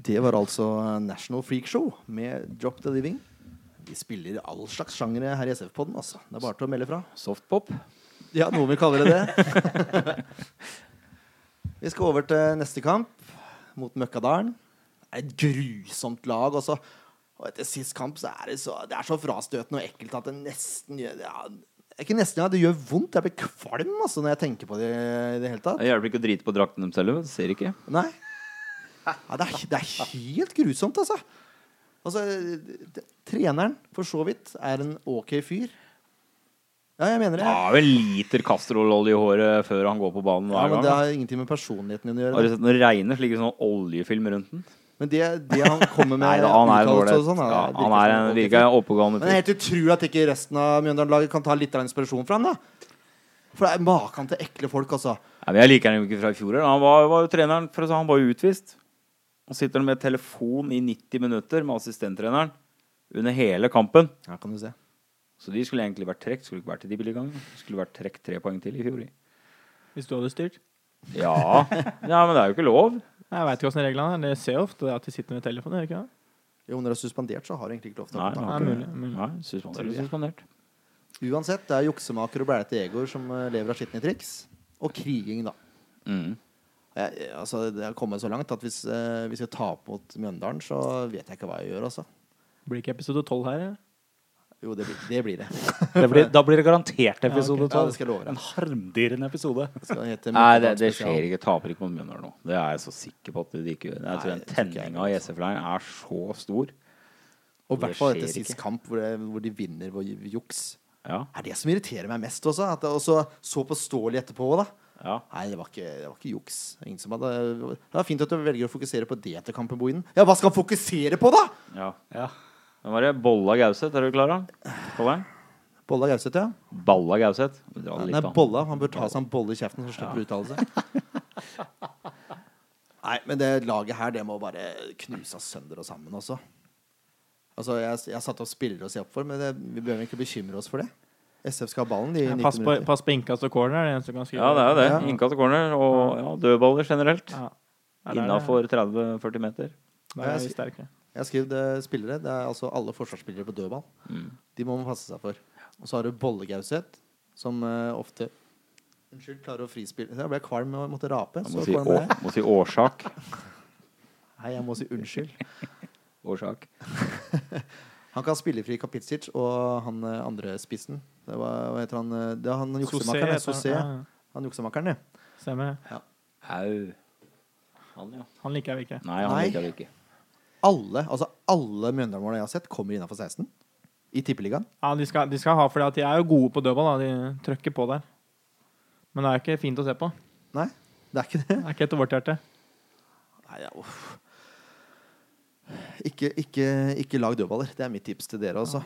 Det var altså National Freak Show med Drop the Living. Vi spiller all slags sjangere her i SF-podden, altså. Det er bare til å melde fra.
Softpop.
Ja, noen vil kalle det det. Vi skal over til neste kamp mot Møkkadalen. Det er et grusomt lag, altså. Og etter sist kamp så er det så, det er så frastøtende og ekkelt at det nesten gjør ja, Ikke nesten, ja, det gjør vondt. Jeg blir kvalm altså, når jeg tenker på det i det hele tatt.
Det hjelper ikke å drite på drakten dem selv. Det ser ikke.
Nei. Ja, det, er, det er helt grusomt, altså. Altså, det, Treneren, for så vidt, er en ok fyr. Ja, jeg mener det.
Har vel liter kastrololje i håret før han går på banen
Ja,
hver
men
gang.
Det
da.
har ingenting med personligheten din
Har
å gjøre.
du sett når det regner, så ligger det sånn oljefilm rundt den?
Men det, det han kommer med
Nei, da, han er
uttalelser
ålreit.
og sånn,
Ja,
det
han er
som
en
en ok
virker
fyr.
oppegående
Men det er
fyr.
helt utrolig at ikke resten av Mjøndalen-laget kan ta litt av inspirasjon fra han da. For det er maken til ekle folk, altså.
Nei, men jeg liker han jo ikke fra i fjor. eller? Han var, var jo treneren, for å si, han var jo utvist. Og sitter han med telefon i 90 minutter med assistenttreneren under hele kampen.
Ja, kan du se.
Så de skulle egentlig vært trukket. Skulle ikke vært i de billige gangene. Skulle vært trukket tre poeng til i fjor. de.
Hvis du hadde styrt.
Ja. ja, men det er jo ikke lov.
Jeg veit ikke åssen reglene er. Det ser jeg ofte at de sitter med telefonen. Gjør de ikke det?
Jo, når du er suspendert, så har du egentlig ikke lov til å
Nei,
ta
det
kontakt.
er
Ja,
mulig.
mulig, mulig.
Nei, suspendert. eller suspendert.
Uansett, det er juksemaker og blærete Egor som eh, lever av skitne triks. Og kriging, da.
Mm.
Jeg, jeg- altså, det har kommet så langt at hvis, eh, hvis jeg taper mot Mjøndalen, så vet jeg ikke hva jeg gjør, altså.
Blir ikke episode 12 her? eller?
Jo, det blir det. Blir det.
Det blir, da blir det garantert episode
Ja,
12.
det skal jeg love deg.
en harmdirrende episode.
Det skal hete
Nei, det, det
Mjøndalen
skjer ikke. Taper ikke mot Mjøndalen nå. Det er jeg så sikker på at de ikke gjør. Jeg tror den
det tror ikke jeg
tenninga i SF-leiren er så stor. Det
Og i hvert fall
skjer
etter sist
ikke.
kamp, hvor, det, hvor de vinner ved å juks.
Ja.
Det er det som irriterer meg mest også. At det også så påståelig etterpå da.
ja.
Nei, det var ikke, det var ikke juks. Ingen som hadde, det er fint at du velger å fokusere på det etter kampen, Bohinen. Ja, hva skal han fokusere på, da?!
ja. Hvem var det? Bolla Gauseth, er du klar over? Kaller han?
Bolla Gauseth, ja.
Balla Gauseth. Vi drar det litt
Nei,
an.
bolla. Han bør ta seg en bolle i kjeften, så slipper du uttalelse. Nei, men det laget her, det må bare knuses sønder og sammen også. Altså, jeg, jeg har satt opp spillere å se opp for, men det, vi behøver ikke bekymre oss for det. SF skal ha ballen i
Ja,
90
Pass på,
minutter.
pass på innkast og corner. er Det eneste du kan skrive.
Ja, det er jo det.
Ja.
Innkast og corner og ja, dødballer generelt.
Ja. Ja, det er det.
Innafor 30-40 meter.
Der er vi sterke.
Jeg har skrevet eh, spillere. Det er altså alle forsvarsspillere på dødball. De må man passe seg for. Og så har du Bollegauseth, som eh, ofte Unnskyld, klarer å frispille Jeg ble kvalm og måtte rape.
Jeg
Så
må si,
kvalm
å,
ble jeg.
må si årsak.
Nei, jeg må si unnskyld.
Årsak.
Han kan spille fri Kapitsic og han eh, andre spissen. Det var, hva heter han eh, Det er han juksemakeren.
heter
ja, Sosé.
han. Ja,
Han juksemakeren, ja.
ja. Stemmer.
Au. Han, ja.
Han liker jeg ikke.
Nei, han
Nei.
liker det ikke.
Alle altså alle Mjøndalen-målene jeg har sett, kommer innafor 16 i Tippeligaen.
Ja, de skal, de skal ha for det at de er jo gode på dødball. Da. De trøkker på der. Men det er ikke fint å se på.
Nei, det er ikke det.
Det er ikke etter vårt hjerte.
Nei, ja, uff. Ikke, ikke, ikke lag dødballer. Det er mitt tips til dere, altså.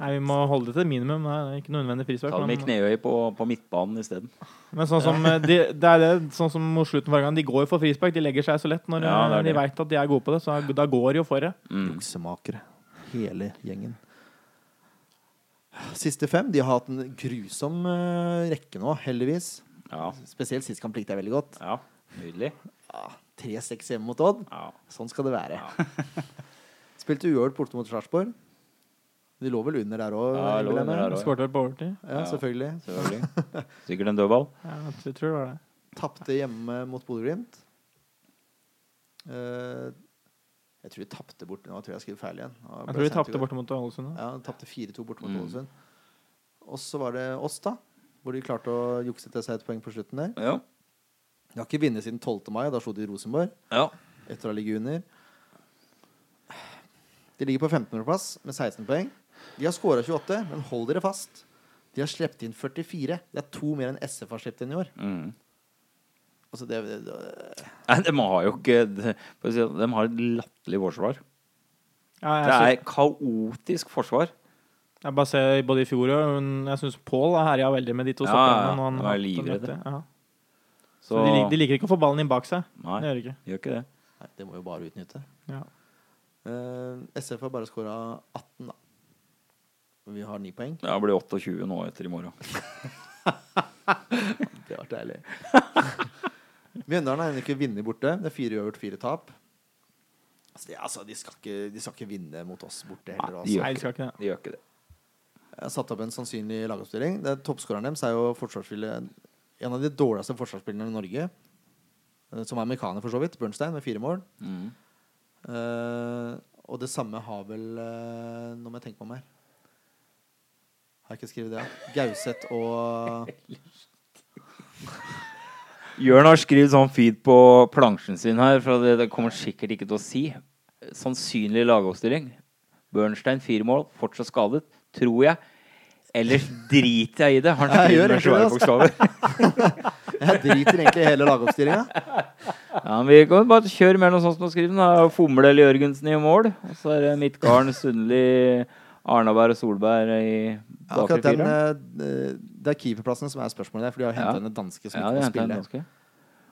Nei, Vi må holde det til et minimum. Det er ikke noe innvendig frispark.
Ta dem i
men-
knehøy på, på midtbanen isteden.
Men sånn som, eh, de, det er det, sånn som mot slutten forrige gang, de går jo for frispark. De legger seg så lett når
Ja, det er
eh, de
det.
veit at de er gode på det. Så da går de jo for det.
Juksemakere. Hele gjengen. Siste fem. De har hatt en grusom eh, rekke nå, heldigvis.
Ja.
Spesielt sist kamp likte jeg veldig godt.
ja. Nydelig.
Ja, 3-6 hjemme mot Odd.
Ja.
Sånn skal det være. Spilte uavgjort borte mot Sarpsborg. De lå vel under der òg?
Ja, lå under der også.
De skårte vel på overtid.
Ja, selvfølgelig.
Selvfølgelig. Sikkert en dødball.
Ja, jeg tror det var det.
Tapte hjemme mot Bodø-Glimt. Eh, jeg tror de tapte bort Nå tror jeg jeg skrev feil igjen. Nå
Jeg
ble
tror
sent
de
i går.
tapte borte mot Ålesund.
Ja,
da.
de tapte 4-2 borte mot
Mm.
Ålesund. Og så var det oss, da. Hvor de klarte å jukse til seg et poeng på slutten der.
Ja.
De har ikke vunnet siden 12. mai, da slo de Rosenborg
ja.
etter å ha ligget under. De ligger på 1500-plass med 16 poeng. De har skåra 28, men hold dere fast. De har sluppet inn 44. Det er to mer enn SF har sluppet inn i år.
Mm.
Altså, det, det, det,
Nei, de har jo ikke De for å si det, de har et latterlig forsvar.
Ja,
Det
jeg,
er kaotisk forsvar.
sy- jeg bare ser både i fjor og men Jeg syns Pål har herja veldig med de to
Ja, ja,
stopperne. når han
de er
har hatt
livredde.
dette. Ja. Så
Så
de, lik- de liker ikke å få ballen inn bak seg.
Nei,
Det gjør de ikke.
gjør ikke det.
nei, det må jo bare utnytte.
Ja.
Eh, SF har bare skåra 18, da. Vi har 9 poeng.
Det blir 28 nå etter i morgen.
Det var deilig. Mjøndalen har ennå ikke vunnet borte. Det er fire uavgjort, fire tap. Altså, de, altså, de, skal ikke, de skal ikke vinne mot oss borte
Nei,
heller.
de
Altså.
gjør
Nei,
ikke
de skal ikke det.
De gjør ikke det.
Jeg har satt opp en sannsynlig lagoppstilling. Det er Toppskåreren deres er jo forsvarsspiller- en av de dårligste forsvarsspillerne i Norge. eh, Som er amerikaner, for så vidt. Bernstein med fire mål.
Mm.
Eh, og det samme har vel eh, Nå må jeg tenke meg om her. Har jeg ikke skrevet det? ja? Gauseth og
Jørn har skrevet sånn feed på plansjen sin her, for det, det kommer sikkert ikke til å si. Sannsynlig lagoppstilling. Bernstein fire mål, fortsatt skadet, tror jeg. Ellers driter jeg i det. altså. Han
Ja,
skriver
jeg gjør
med svære
egentlig
bokstaver.
Jeg driter egentlig i hele lagoppstillinga.
Ja, men vi kan bare kjøre mer noe sånt som du skriver. Da. Fomle eller Jørgensen i mål. Og så er det Midtgarden, Sundli, Arnaberg og Solberg i bakre
Akkurat den,
fireren.
eh, Det er keeperplassene som er spørsmålet der, for de har henta
Ja.
inn en danske som
Ja,
ikke
det
kan
henter en
spille.
ganske.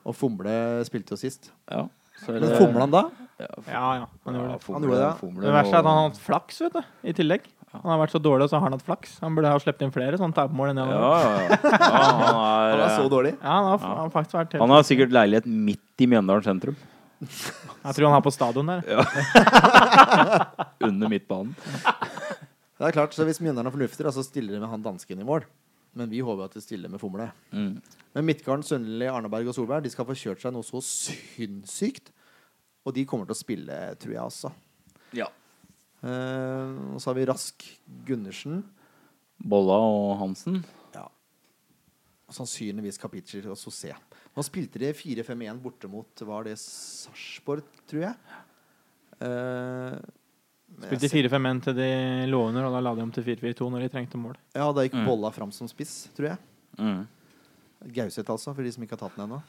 Og Fomle spilte jo sist.
Ja. Så er
Men
det-
fomla han da?
Ja, ja. Han gjorde det.
Han gjorde det.
Fomle
Det verste er
og-
at han har hatt flaks, vet du. I tillegg. Han har vært så dårlig, og så har han hatt flaks. Han burde ha sluppet inn flere sånne tapmål enn det han
Ja,
gjorde.
ja, ja. ja han,
Han
er, eh,
er så dårlig.
Ja, han har, han har faktisk vært helt
han har sikkert leilighet midt i Mjøndalen sentrum.
Jeg tror han er på stadion der.
Under midtbanen.
Det er klart, så Hvis Mjøndalen fornufter, da, så stiller de med han dansken i mål. Men vi håper jo at de stiller med Fomle.
Mm.
Men Midtgarden, Sønderli, Arneberg og Solberg De skal få kjørt seg noe så sinnssykt. Og de kommer til å spille, tror jeg også.
Ja.
Eh, og så har vi Rask Gundersen.
Bolla og Hansen.
Ja. Og sannsynligvis Kapicic og Sosé. Nå spilte de 4-5-1 borte mot Var det Sarpsborg, tror jeg? Eh, men jeg
Spilte 4-5-1 til de lå under, og da la de om til 4-4-2 når de trengte mål.
ser- ja, da gikk
Mm.
Bolla fram som spiss, tror jeg.
Mm.
Gauseth, altså, for de som ikke har tatt den ennå.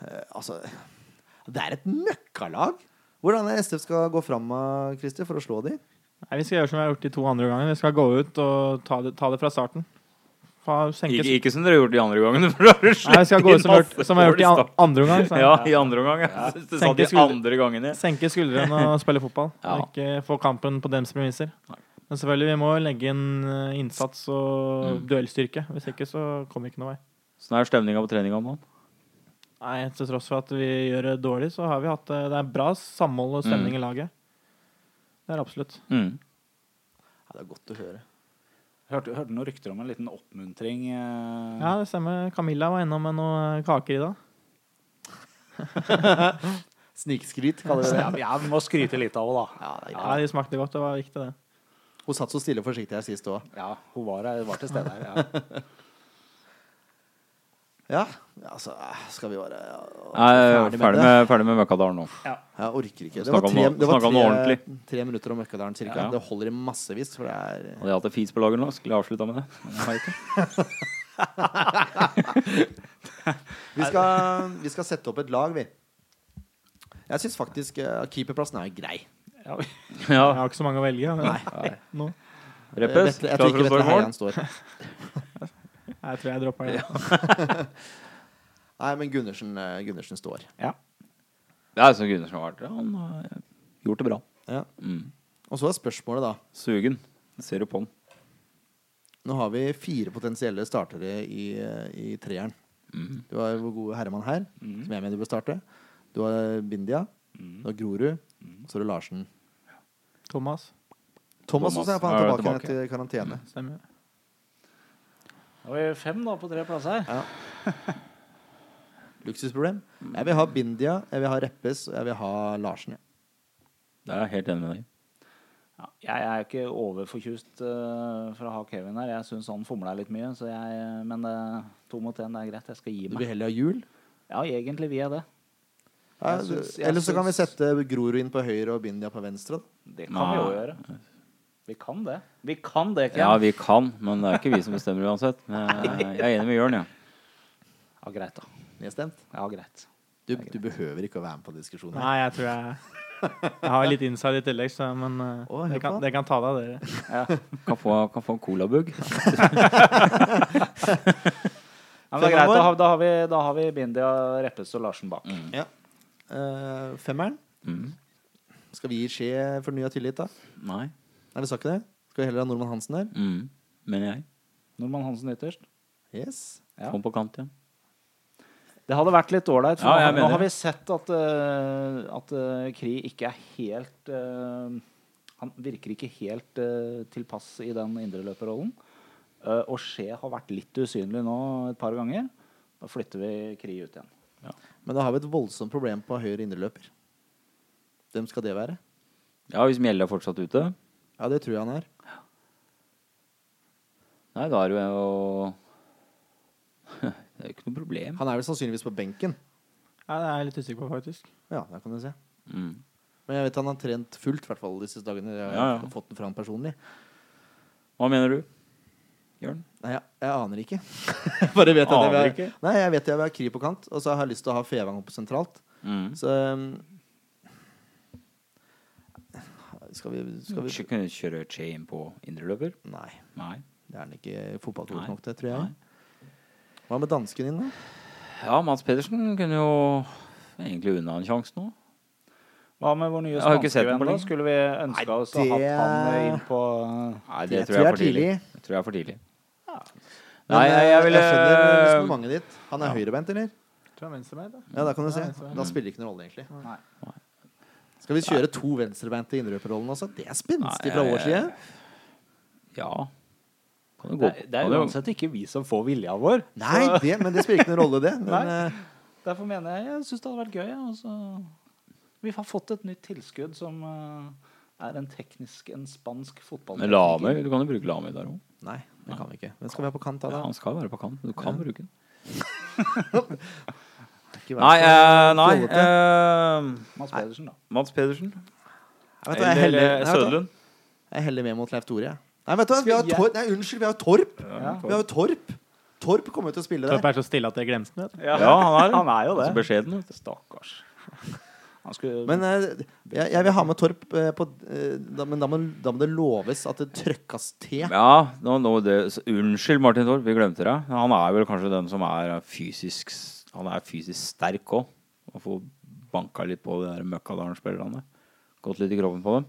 Eh, altså Det er et møkkalag! Hvordan er SF skal gå fram eh, Christer, for å slå de?
Nei, Vi skal gjøre som vi har gjort de to andre gangene. Vi skal gå ut og ta det, ta det fra starten. Fa- senke-
Ikke, ikke som dere har gjort de andre gangene. For da har dere
Nei, vi skal
slett
gå
inn
ut som vi har
masse
gjort- som vi har
mål
gjort
i
de an-
starten.
andre omgang. så-
Ja, i andre omgang. Ja. Du sa
Tenkte
de
jeg skulle-
andre gangene.
Senke skuldrene og spille fotball.
Ja.
Ikke få kampen på dems premisser.
Nei.
Men selvfølgelig, vi må legge inn eh, innsats og duellstyrke. Hvis ikke så kommer vi ikke noen vei.
Sånn er stemninga på treninga om dagen.
Nei, til tross for at vi gjør det dårlig, så har vi hatt eh, Det er bra samhold og stemning i laget. Det er absolutt.
Mm.
Ja, det er godt å høre.
Hørte, hørte noen rykter om en liten oppmuntring. eh,
Ja, det stemmer. Camilla var innom med noen kaker i dag.
Snikskryt, kaller vi det.
Ja, men jeg må skryte litt av henne, da.
Ja, de smakte godt. Det var viktig, det.
Hun satt så stille og forsiktig her sist òg.
Ja, hun var, her- var til stede her. Ja.
Ja, altså eh, Skal vi bare
Jeg er
Ferdig med
ferdig
det.
med, ferdig med Møkkadalen nå.
Jeg orker ikke. Det
Snakk
var
om
tre,
noe-
det var
snakk om noe
tre,
ordentlig.
tre minutter om Møkkadalen cirka.
Ja.
Det holder i massevis, for det er
Hadde jeg hatt et fis på lager nå, skulle jeg avslutta med det. Men jeg har ikke.
Vi skal, vi skal sette opp et lag, vi. Jeg syns faktisk eh, keeperplassen er grei.
Ja,
Ja.
Jeg har ikke så mange å velge. Men
Nei.
Nå.
Reppes,
Vetle- Eh, jeg
klar
tror
for å stå i
ikke Vetle
mål?
Heian står.
Jeg tror jeg dropper det.
Nei, men Gundersen, eh, Gundersen står.
ja.
Det er som Gundersen har vært. Han eh, har gjort det bra.
Ja.
Mm.
Og så er spørsmålet, da.
Sugen. Ser du på den.
Nå har vi fire potensielle startere i, eh, i treeren.
Mm.
Du har vår gode herremann her, som jeg mener bør starte. Du har Bindia.
Mm.
Du har Grorud. Så har du Larsen.
Thomas.
Thomas,
Thomas
også er på
er
han tilbake,
tilbake. Mm.
etter karantene.
Stemmer.
Da var vi fem da på tre plasser. her.
Luksusproblem.
Mm.
Jeg vil ha Bindia, jeg vil ha Reppes, og jeg vil ha Larsen. Ja.
Det er jeg helt enig med deg i.
Ja, jeg er ikke overforkjust eh, for å ha Kevin her. Jeg syns han fomla litt mye. Så jeg, men eh, to mot én, det er greit. Jeg skal gi
Du vil
meg.
heller ha Hjul?
Ja, egentlig vil jeg det.
Ja,
Jeg syns- jeg
Eller så kan vi
syns-
sette Grorud inn på høyre og Bindia på venstre. da.
Det kan vi jo
Nei.
gjøre. Vi kan det. Vi kan det, Kevin.
Ja, vi kan, men det er ikke vi som bestemmer uansett. Men eh, Jeg jeg er enig med Jørn, jeg.
Ja, greit, da.
Nedstemt?
Ja, greit.
Du, du behøver ikke å være med på diskusjonen. her.
Nei, jeg tror jeg Jeg har litt inside i tillegg, så, men eh,
Å, hør
det, kan,
på.
det kan ta deg, dere.
Kan få, kan få en colabug.
Ja, men det er
Fem
greit. Da
år.
har, da har vi, da har vi Bindia, Reppes og Larsen bak.
Ja. Eh, femmeren.
Mm.
Skal vi gi skje fornya tillit, da?
Nei.
Nei, vi sa ikke det. Skal vi heller ha Nordmann Hansen der?
Mm. Men jeg.
Nordmann Hansen ytterst.
Yes.
Ja.
Kom på kant igjen.
Det hadde vært litt ålreit. for
Ja,
nå
jeg
har-
mener
Nå har vi
det.
sett at, eh, at eh, Kri ikke er helt eh, Han virker ikke helt eh, tilpass i den indreløperrollen. Uh, og Skje har vært litt usynlig nå et par ganger. Da flytter vi Kri ut igjen.
Men da har vi et voldsomt problem på høyre indreløper. Hvem skal det være?
Ja, hvis Mjelde er fortsatt ute
Ja, det tror jeg han er.
Nei, da er det jo Det er jo ikke noe problem.
Han er vel sannsynligvis på benken.
Ja, det er jeg litt usikker på, faktisk.
Ja, der kan du se.
Mm.
Men jeg vet han har trent fullt i hvert fall disse dagene. Jeg
Ja,
har
ja.
fått den fra han personlig.
Hva mener du, Jørn?
Nei, jeg, jeg aner ikke. Bare vet jeg
Aner
det. Jeg, nei, jeg vet jeg vil ha Kri på kant, og så har jeg lyst til å ha Fevang oppe sentralt.
Mm.
Så um, Skal vi, skal vi
Kunne du kjøre Che inn på indreløper?
Nei.
Nei.
Det er han ikke fotballtort
Nei.
nok til, tror jeg. Hva med dansken din, da?
Ja, Mads Pedersen kunne jo egentlig unna en sjanse nå.
Hva med vår nye
Jeg har ikke
spanske
sett den
venn?
på
da?
lenge.
Skulle vi ønska oss å ha
det-
han eh, inn på
Nei,
Det tror jeg er tidlig.
Jeg tror jeg er for tidlig.
Men,
Nei, jeg,
eh,
jeg ville
jeg skjønner resonnementet ditt. Han er høyrebeint, eller?
Mm.
Tror jeg er venstrebeint, da.
Ja, da kan du se.
Ja, venstrebeint.
Da spiller det ikke noen rolle, egentlig.
Nei.
Skal vi kjøre to venstrebeinte i indreløperrollen også? Det er spenstig
Nei,
fra
jeg-
vår side.
Ja. Kan du gå
Det, er- det er uansett ikke vi som får vilja vår.
Nei, det, men det spiller ikke noen rolle, det.
Nei.
Men, eh,
Derfor mener jeg jeg syns det hadde vært gøy. Ja. og så- vi har fått et nytt tilskudd som eh, er en teknisk, en spansk fotball.
Men Lame, du kan jo bruke Lame der òg.
nei, det kan vi ikke. Hvem skal vi ha på kant da?
Ja,
da?
han skal være på kant, men du kan bruke den.
Ikke vær
Nei,
så-
eh, nei
fjollete.
eh,
Mads Pedersen, da.
Mats Pedersen.
Jeg vet hva, jeg
Eller
heller-
eh,
nei, vet du hva,
Søderlund.
Jeg heller med mot Leif Tore. jeg. Nei, vet du hva, vi har
Skal jeg-
Torp. Nei, unnskyld, vi har Torp.
Ja.
Vi har jo Torp. Torp kommer jo til å spille
Torp
der.
er så stille at jeg glemte den. vet du.
Ja, han er,
Han er jo
Så
det.
beskjeden. vet du.
Stakkars. Han skulle
Men eh, jeg, jeg vil ha med Torp, eh, på, eh, da, men da må, da må det loves at det trøkkes til.
Ja, nå, nå, det, så, unnskyld, Martin Torp, vi glemte deg. Han er vel kanskje den som er fysisk s- Han er fysisk sterk òg. Og får banka litt på de der møkkadalen-spillerne. Gått litt i kroppen på dem.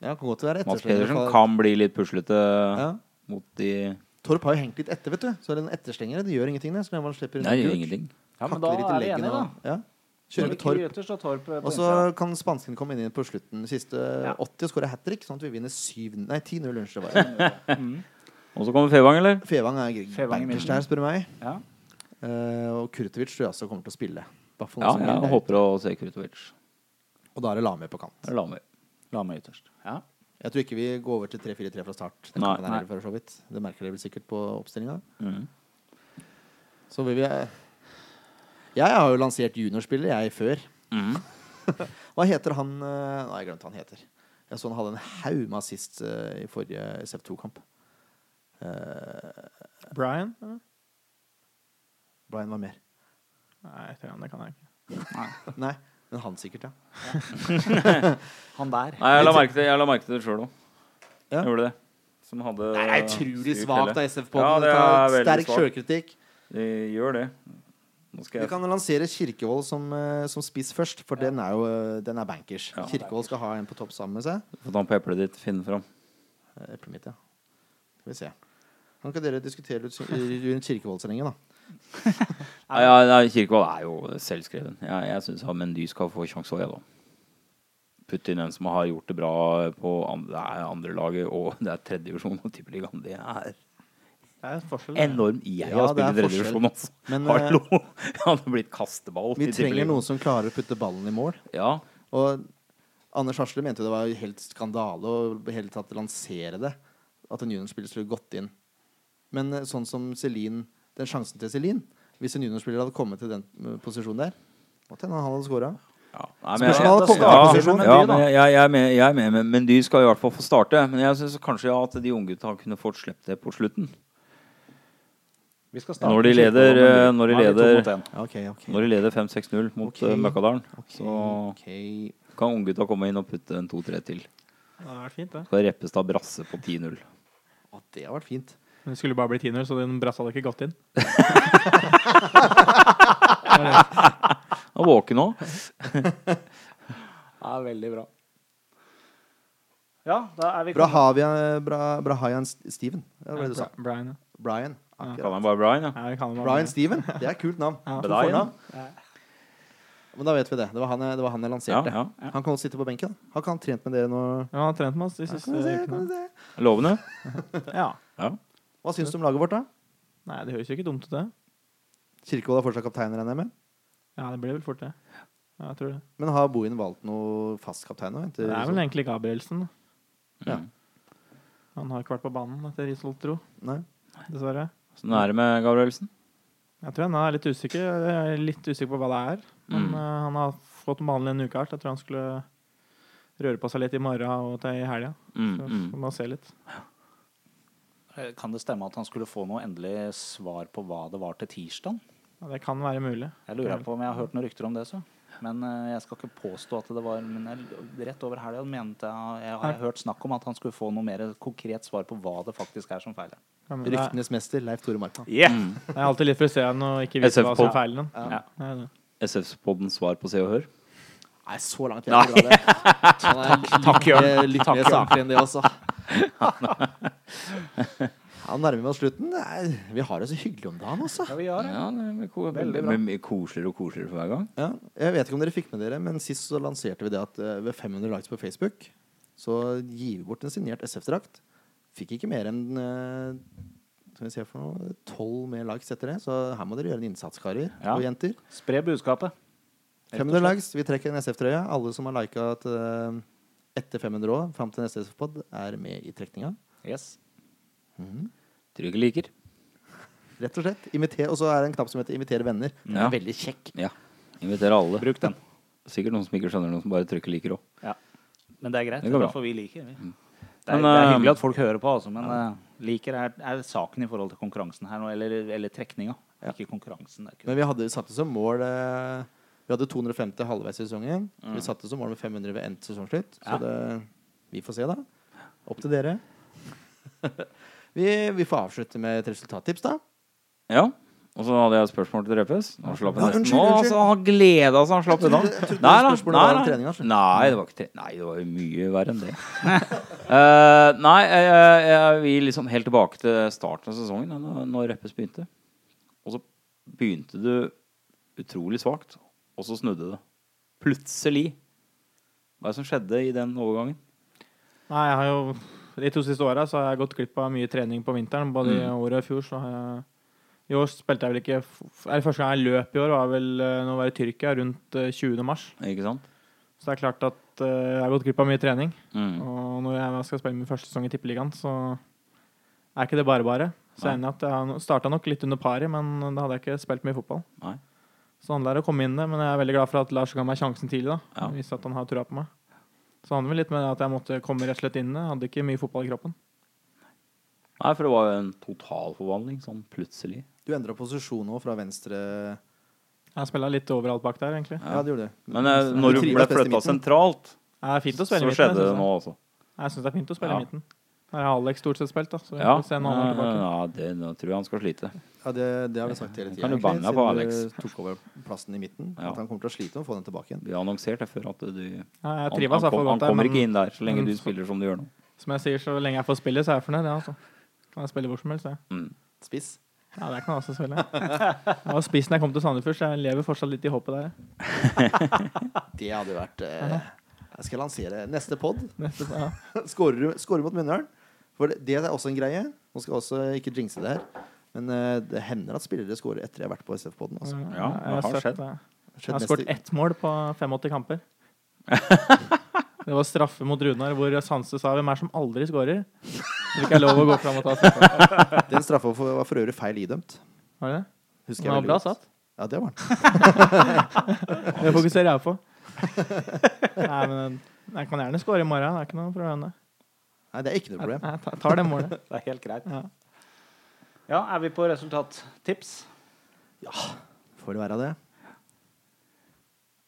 Ja, kan godt være
Mats
etterslengende
Pedersen
fra-
kan bli litt puslete
ja.
mot de
Torp har jo hengt litt etter, vet du. Så er det en etterstenger. Det gjør ingenting, det. Så lenge man slipper unna
Nei, gjør
gult.
ingenting.
Ja, men
Kakler
da
litt i
er vi
leggen
enige, da.
og- Ja. Kjører
Kjører
med Torp.
Ytterst og Torp eh, på
Og så
innsida.
kan spansken komme inn igjen på slutten. Siste
Ja.
80 og skåre hat trick, sånn at vi vinner 7 Nei, 10-0. Unnskyld. det var.
Og så kommer Fevang, eller?
Fevang er
Fevang i
bankers
midten.
der, spør du meg.
Ja.
Eh, og Kurtovic tror jeg også kommer til å spille. Bare for
Ja,
noen som
jeg
vil det.
håper å se Krutovic.
Og da er det Lame på kant.
Eller Lamer.
Lame ytterst. Ja.
Jeg tror ikke vi går over til 3-4-3 fra start. Den
Nei,
kampen
nei.
her, for så vidt. Det merker dere vel sikkert på oppstillinga.
Mm.
Så vil vi eh, Jeg har jo lansert juniorspiller, jeg, før.
Mhm.
Hva heter han eh, Nei, jeg glemte hva han heter. Jeg så han hadde en haug med assist eh, i forrige SF2-kamp. Eh,
Brian? eller?
Brian var mer.
Nei, jeg tror han, det kan jeg ikke.
Nei, men han sikkert, ja.
Han der.
Nei, jeg la merke til, jeg la merke til det sjøl òg.
Ja.
Jeg gjorde det. Som hadde
Det er utrolig
styrt
svakt av
hele. Eh, Ja,
SF-podden.
det
Ta
er veldig
sterk
svakt.
sjølkritikk.
De gjør det. Nå skal
Vi
jeg
kan lansere Kirkevold som, eh, som spiss først, for den er jo eh, den er bankers.
Ja.
Kirkevold skal ha en på topp sammen med seg.
få ta på eplet ditt, finne fram.
Eh, Eplet mitt, ja. Skal vi se. Kan ikke dere diskutere litt rundt Kirkevold så lenge, da?
Nei, ja, nei, Kirkevold er jo selvskreven. Ja, jeg syns han Mendy skal få sjanse òg, jeg, da. Putt inn en som har gjort det bra på andre, det er andre laget, og det er tredje divisjon og tippeligaen. Det er
Det er en forskjell. det.
enorm Jeg
Ja,
har
det er
spilt i tredje
forskjell.
divisjon, altså.
Men, eh,
Hallo! Jeg hadde blitt kasteball.
Vi
i
trenger
tippeligaen.
noen som klarer å putte ballen i mål.
Ja.
Og Anders Hasle mente jo det var helt skandale å i hele tatt lansere det. At en juniorspiller skulle gått inn. Men eh, sånn som Celine, den sjansen til Celine Hvis en juniorspiller hadde kommet til den eh, posisjonen der, måtte hende han hadde scora.
Ja. Nei,
Spørs om
jeg-
han hadde kommet
ja,
i posisjon.
Ja, men jeg, jeg, er med, jeg er med, men- men de skal i hvert fall få starte. Men jeg syns kanskje ja, at de unggutta kunne fått sluppet det på slutten.
Vi skal starte
Når de
Kirkevold
leder,
med
eh,
Lund.
når de
Nå er vi to
leder-
mot en.
Ok, ok.
Når de leder 5-6-0 mot
Ok.
okay. Møkkadalen,
Ok,
så
ok.
kan unggutta komme inn og putte en 2-3 til.
Det hadde vært fint, det.
Skal Reppestad brasse på 10-0.
Å, det har vært fint.
Men det skulle bare bli 10-0, så den brassa hadde ikke gått inn.
Han er våken òg.
Ja, veldig bra. Ja, da er vi
eh, Brahavia, bra, Brahayan Steven. Ja, det ble det du sa.
Brian, ja.
Brian.
Kaller han bare Brian, ja.
Ja, vi kan jo bare-
Brian Steven. Det er et kult navn.
Ja.
To
Brian.
fornavn. Men da vet vi det. Det var han, det var han jeg
ja,
lanserte.
ja.
Han kan også sitte på benken. Han kan ha trent med dere nå. Eh,
Ja, han har trent med oss de siste
Kan du se, kan
ukene.
du se.
Lovende.
Ja.
Ja.
Hva syns du om laget vårt, da?
Nei, det høres jo ikke dumt ut, det.
Kirkevold er fortsatt kaptein, regner jeg med.
Ja, det blir vel fort det. Ja, jeg tror det.
Men har Bohin valgt noe fast kaptein nå? etter- sånn-
Det er vel egentlig Gabrielsen.
Ja.
Mm.
Han har ikke vært på banen etter Isolt, tro.
Nei.
Dessverre.
Sånn er det med Gabrielsen.
Jeg tror han er litt usikker. Jeg er litt usikker på hva det er. Men
Mm.
eh, han har fått vanlig en uke alt. Jeg tror han skulle røre på seg litt i morgen og til i helga.
Mm,
Så
mm.
får man se litt.
Eh, Kan det stemme at han skulle få noe endelig svar på hva det var til tirsdag?
Ja, det kan være mulig.
Jeg lurer på om jeg har hørt noen rykter om det, så. Men eh, jeg skal ikke påstå at det var Men jeg, rett over helga mente jeg, jeg har hørt snakk om at han skulle få noe mer konkret svar på hva det faktisk er som feiler.
Ja, men det, er,
Ryktenes mester, Leif Tore Markmann.
Mm.
det er alltid litt frustrerende å ikke vite hva som
SF-pod.
er feilen.
Ja.
Det er det.
SF-poddens svar på Se og Hør.
Nei, så langt vil jeg ikke dra det. Han er litt,
Eh,
litt, litt mer saklig enn det også. Ja, nærmer vi oss slutten. Nei, vi har det så hyggelig om dagen også.
Ja, vi gjør det.
Ja, det er ko
Veldig
veldig
bra.
mye koseligere og koseligere for hver gang.
Ja, jeg vet ikke om dere fikk med dere, men sist så lanserte vi det at eh, ved 500 likes på Facebook, så gir vi bort en signert SF-drakt. Fikk ikke mer enn eh, skal vi se for noe, 12 mer likes etter det, så her må dere gjøre en innsats, karer
Ja.
og jenter.
Spre budskapet.
500 likes, vi trekker en SF-trøye. Alle som har lika eh, etter 500 år, fram til neste SF-pod, er med i trekninga.
Yes.
Tror ikke liker.
Rett og slett. Imiter, og så er det en knapp som heter 'inviter venner'. Den
Ja.
er Mm. veldig kjekk.
Ja. Inviterer alle.
Bruk den.
Sikkert noen som ikke skjønner noen som bare trykker liker òg.
Ja. Men det er greit,
Det går bra. Mm.
for vi liker. Vi. Det, er,
Men,
det er
eh,
hyggelig at folk hører på, altså, men eh, liker er, er saken i forhold til konkurransen her nå, eller, eller trekninga. Ikke konkurransen. Det er ikke.
Men vi hadde satt det som mål eh, Vi hadde 250 halvveis i sesongen.
Mm.
Vi satte det som mål med 500 ved endt sesongslutt. Så
Ja.
det, vi får se, da. Opp til dere. vi, vi får avslutte med et resultattips, da.
Ja. Og så hadde jeg et spørsmål til Drepes. Han slapp
Ja,
nesten
unnskyld,
nå.
unnskyld.
Altså, han gleda seg, han slapp
Jeg
unna.
trodde- jeg trodde
Nei da.
spørsmålet
Nei,
var om altså.
da.
treninga, skjønner
nei, det var ikke tre... Nei, det var jo mye verre enn det. Eh, nei, jeg, jeg, jeg vil liksom helt tilbake til starten av sesongen, da når- når Reppes begynte. Og så begynte du utrolig svakt, og så snudde det. Plutselig. Hva er det som skjedde i den overgangen?
Nei, jeg har jo De to siste åra har jeg gått glipp av mye trening på vinteren. Både i
Mm.
året og i fjor. Så har jeg, I år spilte jeg vel ikke f- Eller første gang jeg løp i år, var vel eh, nå var det Tyrkia, rundt eh, 20. mars.
Ikke sant?
Så det er klart at eh, jeg har gått glipp av mye trening.
Mm.
Og når jeg skal spille min første sesong i Tippeligaen, så er ikke det bare bare. Så jeg er enig i at jeg starta nok litt under pari, men da hadde jeg ikke spilt mye fotball.
Nei.
Så handla det om å komme inn det, men jeg er veldig glad for at Lars ga meg sjansen tidlig. da.
Ja.
Jeg Viste at han har trua på meg. Så handler det vel litt med at jeg måtte komme rett og slett inn det. Hadde ikke mye fotball i kroppen.
Nei, for det var jo en totalforvandling sånn plutselig.
Du endra posisjon nå fra venstre
Jeg spilla litt overalt bak der, egentlig.
Ja, du gjorde det.
Men eh,
Du
når du
trives
ble
best i
flytta
midten.
sentralt,
Det er fint
så
å spille i midten.
skjedde
jeg
det
synes
nå
det.
også.
Jeg syns det er fint å spille
Ja.
i midten. Der har Alex stort sett spilt, da. Så vi
Ja,
får se når han er
ja,
tilbake.
ja, det nå tror jeg han skal slite.
Ja, det, det har vi sagt hele
Kan
tida.
du bange deg på Alex?
du tok over plassen i midten.
Ja.
At han kommer til å slite med å få den tilbake igjen.
Vi har annonsert det før at du
Ja, jeg
han,
trives
han, kom,
i hvert fall
han
godt der,
kommer ikke
men Mm.
inn der så lenge
men
du
så-
spiller som du gjør nå.
som jeg sier, så lenge jeg får spille, så er jeg fornøyd. Ja, altså. Kan jeg spille hvor som helst, jeg.
Mm.
Spiss.
Ja, det kan jeg også spille. Jeg var spiss da jeg kom til Sandefjord, så jeg lever fortsatt litt i håpet der.
Det hadde vært eh, Jeg skal lansere neste pod.
Neste, ja.
Skårer du- skårer mot Mjøndalen. For det, det er også en greie. Nå skal jeg også ikke jinxe det her. Men eh, det hender at spillere skårer etter de har vært på SF-poden. Altså.
Ja, det
jeg
har
sett
skjedd.
Skjedd
det. Mm. Jeg har
mest
skåret
i-
ett mål på 85 kamper. Det var straffe mot Runar, hvor Sanse sa 'Hvem er det som aldri skårer?' Det fikk jeg lov å gå fram og ta straffe.
Den straffa for- var for øvrig feil idømt.
Var det det?
Husker jeg
Den var
veldig
bra
godt.
satt.
Ja, det var den.
Det fokuserer jeg på. Nei, men eh, jeg kan gjerne skåre i morgen. Det er ikke noe problem. det.
Nei, det er ikke noe problem.
Jeg tar- tar det målet.
Det er helt greit.
Ja.
Ja, er vi på resultattips?
Får det være det.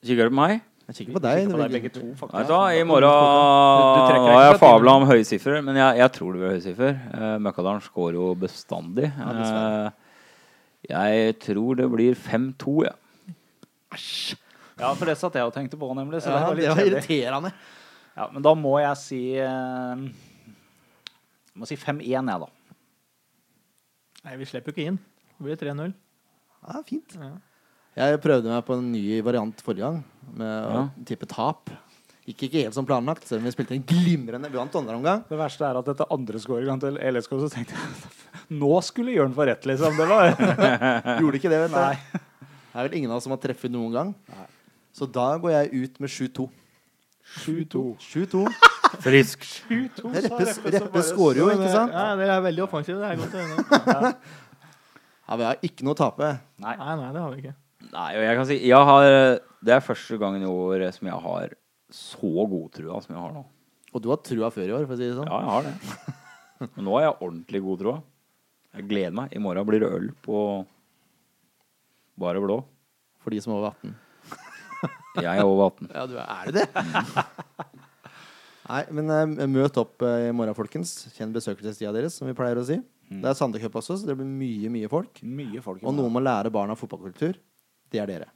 Kikker du på meg?
Jeg kikker på deg.
Kikker på deg
det
begge to,
Nei,
faktisk.
da, I morgen
Du- du trekker
Da
deg ikke
har jeg
fra
fabla om høysiffer, men jeg, jeg tror det blir høysiffer. Uh, Møkkadalen skårer jo bestandig.
dessverre.
Eh, jeg tror det blir 5-2, jeg.
Ja, for det satt jeg og tenkte på, nemlig. Så
ja,
det var
det
litt
var
kjedelig.
irriterende.
Ja, men da må jeg si eh, jeg Må si 5-1, jeg, da.
Nei, vi slipper jo ikke inn. Det blir 3-0.
Ja, fint.
Ja.
Jeg prøvde meg på en ny variant forrige gang, med å
Ja.
tippe tap. Gikk ikke helt som planlagt, selv om vi spilte en glimrende vant andre omgang.
Det verste er at etter andre skåringen til LSK så tenkte jeg nå skulle Jørn få rett, liksom. Det var
Gjorde ikke det, vet du. Det er vel ingen av oss som har treffet noen gang. Så da går jeg ut med 7-2.
7-2.
7-2.
Frisk.
Reppe, Reppe skårer jo, ikke sant?
Ja, dere er veldig offensive. Det er godt å høre.
Ja, Vi har ikke noe å tape.
Nei, nei, det har vi ikke.
Nei, og jeg kan si jeg har, eh, Det er første gangen i år som jeg har så god trua som jeg har nå.
Og du har trua før i år, for å si det sånn.
Ja, jeg har det. Men nå har jeg ordentlig god trua. Jeg gleder meg. I morgen blir det øl på bare blå.
For de som er over 18.
Jeg er over 18.
Ja, du er det det? Nei, men eh, møt opp eh, i morgen, folkens. Kjenn besøkelsestida deres, som vi pleier å si. Det er Sandecup også, så det blir mye, Mm. mye folk.
Mye folk. i
Og
morgen.
noen må lære barna fotballkultur. Det er dere.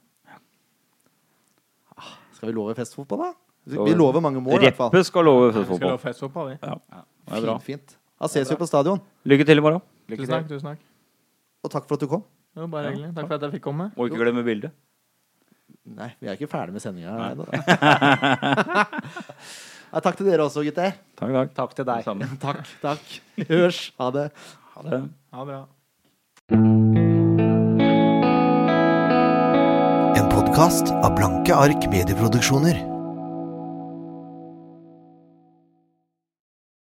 Ah, Skal vi love festfotball, da? Vi lover mange mål, i hvert fall.
Reppe skal love
Vi skal
fotball.
love festfotball, vi.
Ja. Det er bra.
Fint, fint. Da ses vi på stadion.
Lykke til i morgen.
Lykke
Tusen
til.
takk. tusen takk.
Og takk for at du kom.
Jo, bare hyggelig. Takk for at jeg fikk komme.
Må ikke glemme bildet.
Nei, vi er ikke ferdig med sendinga. Nei, takk til dere også, gutter.
Takk, takk.
Takk til deg.
Samme.
Takk, takk. Vi Hørs. Ha det.
Ha det.
Ha det bra.
En podkast av Blanke ark medieproduksjoner.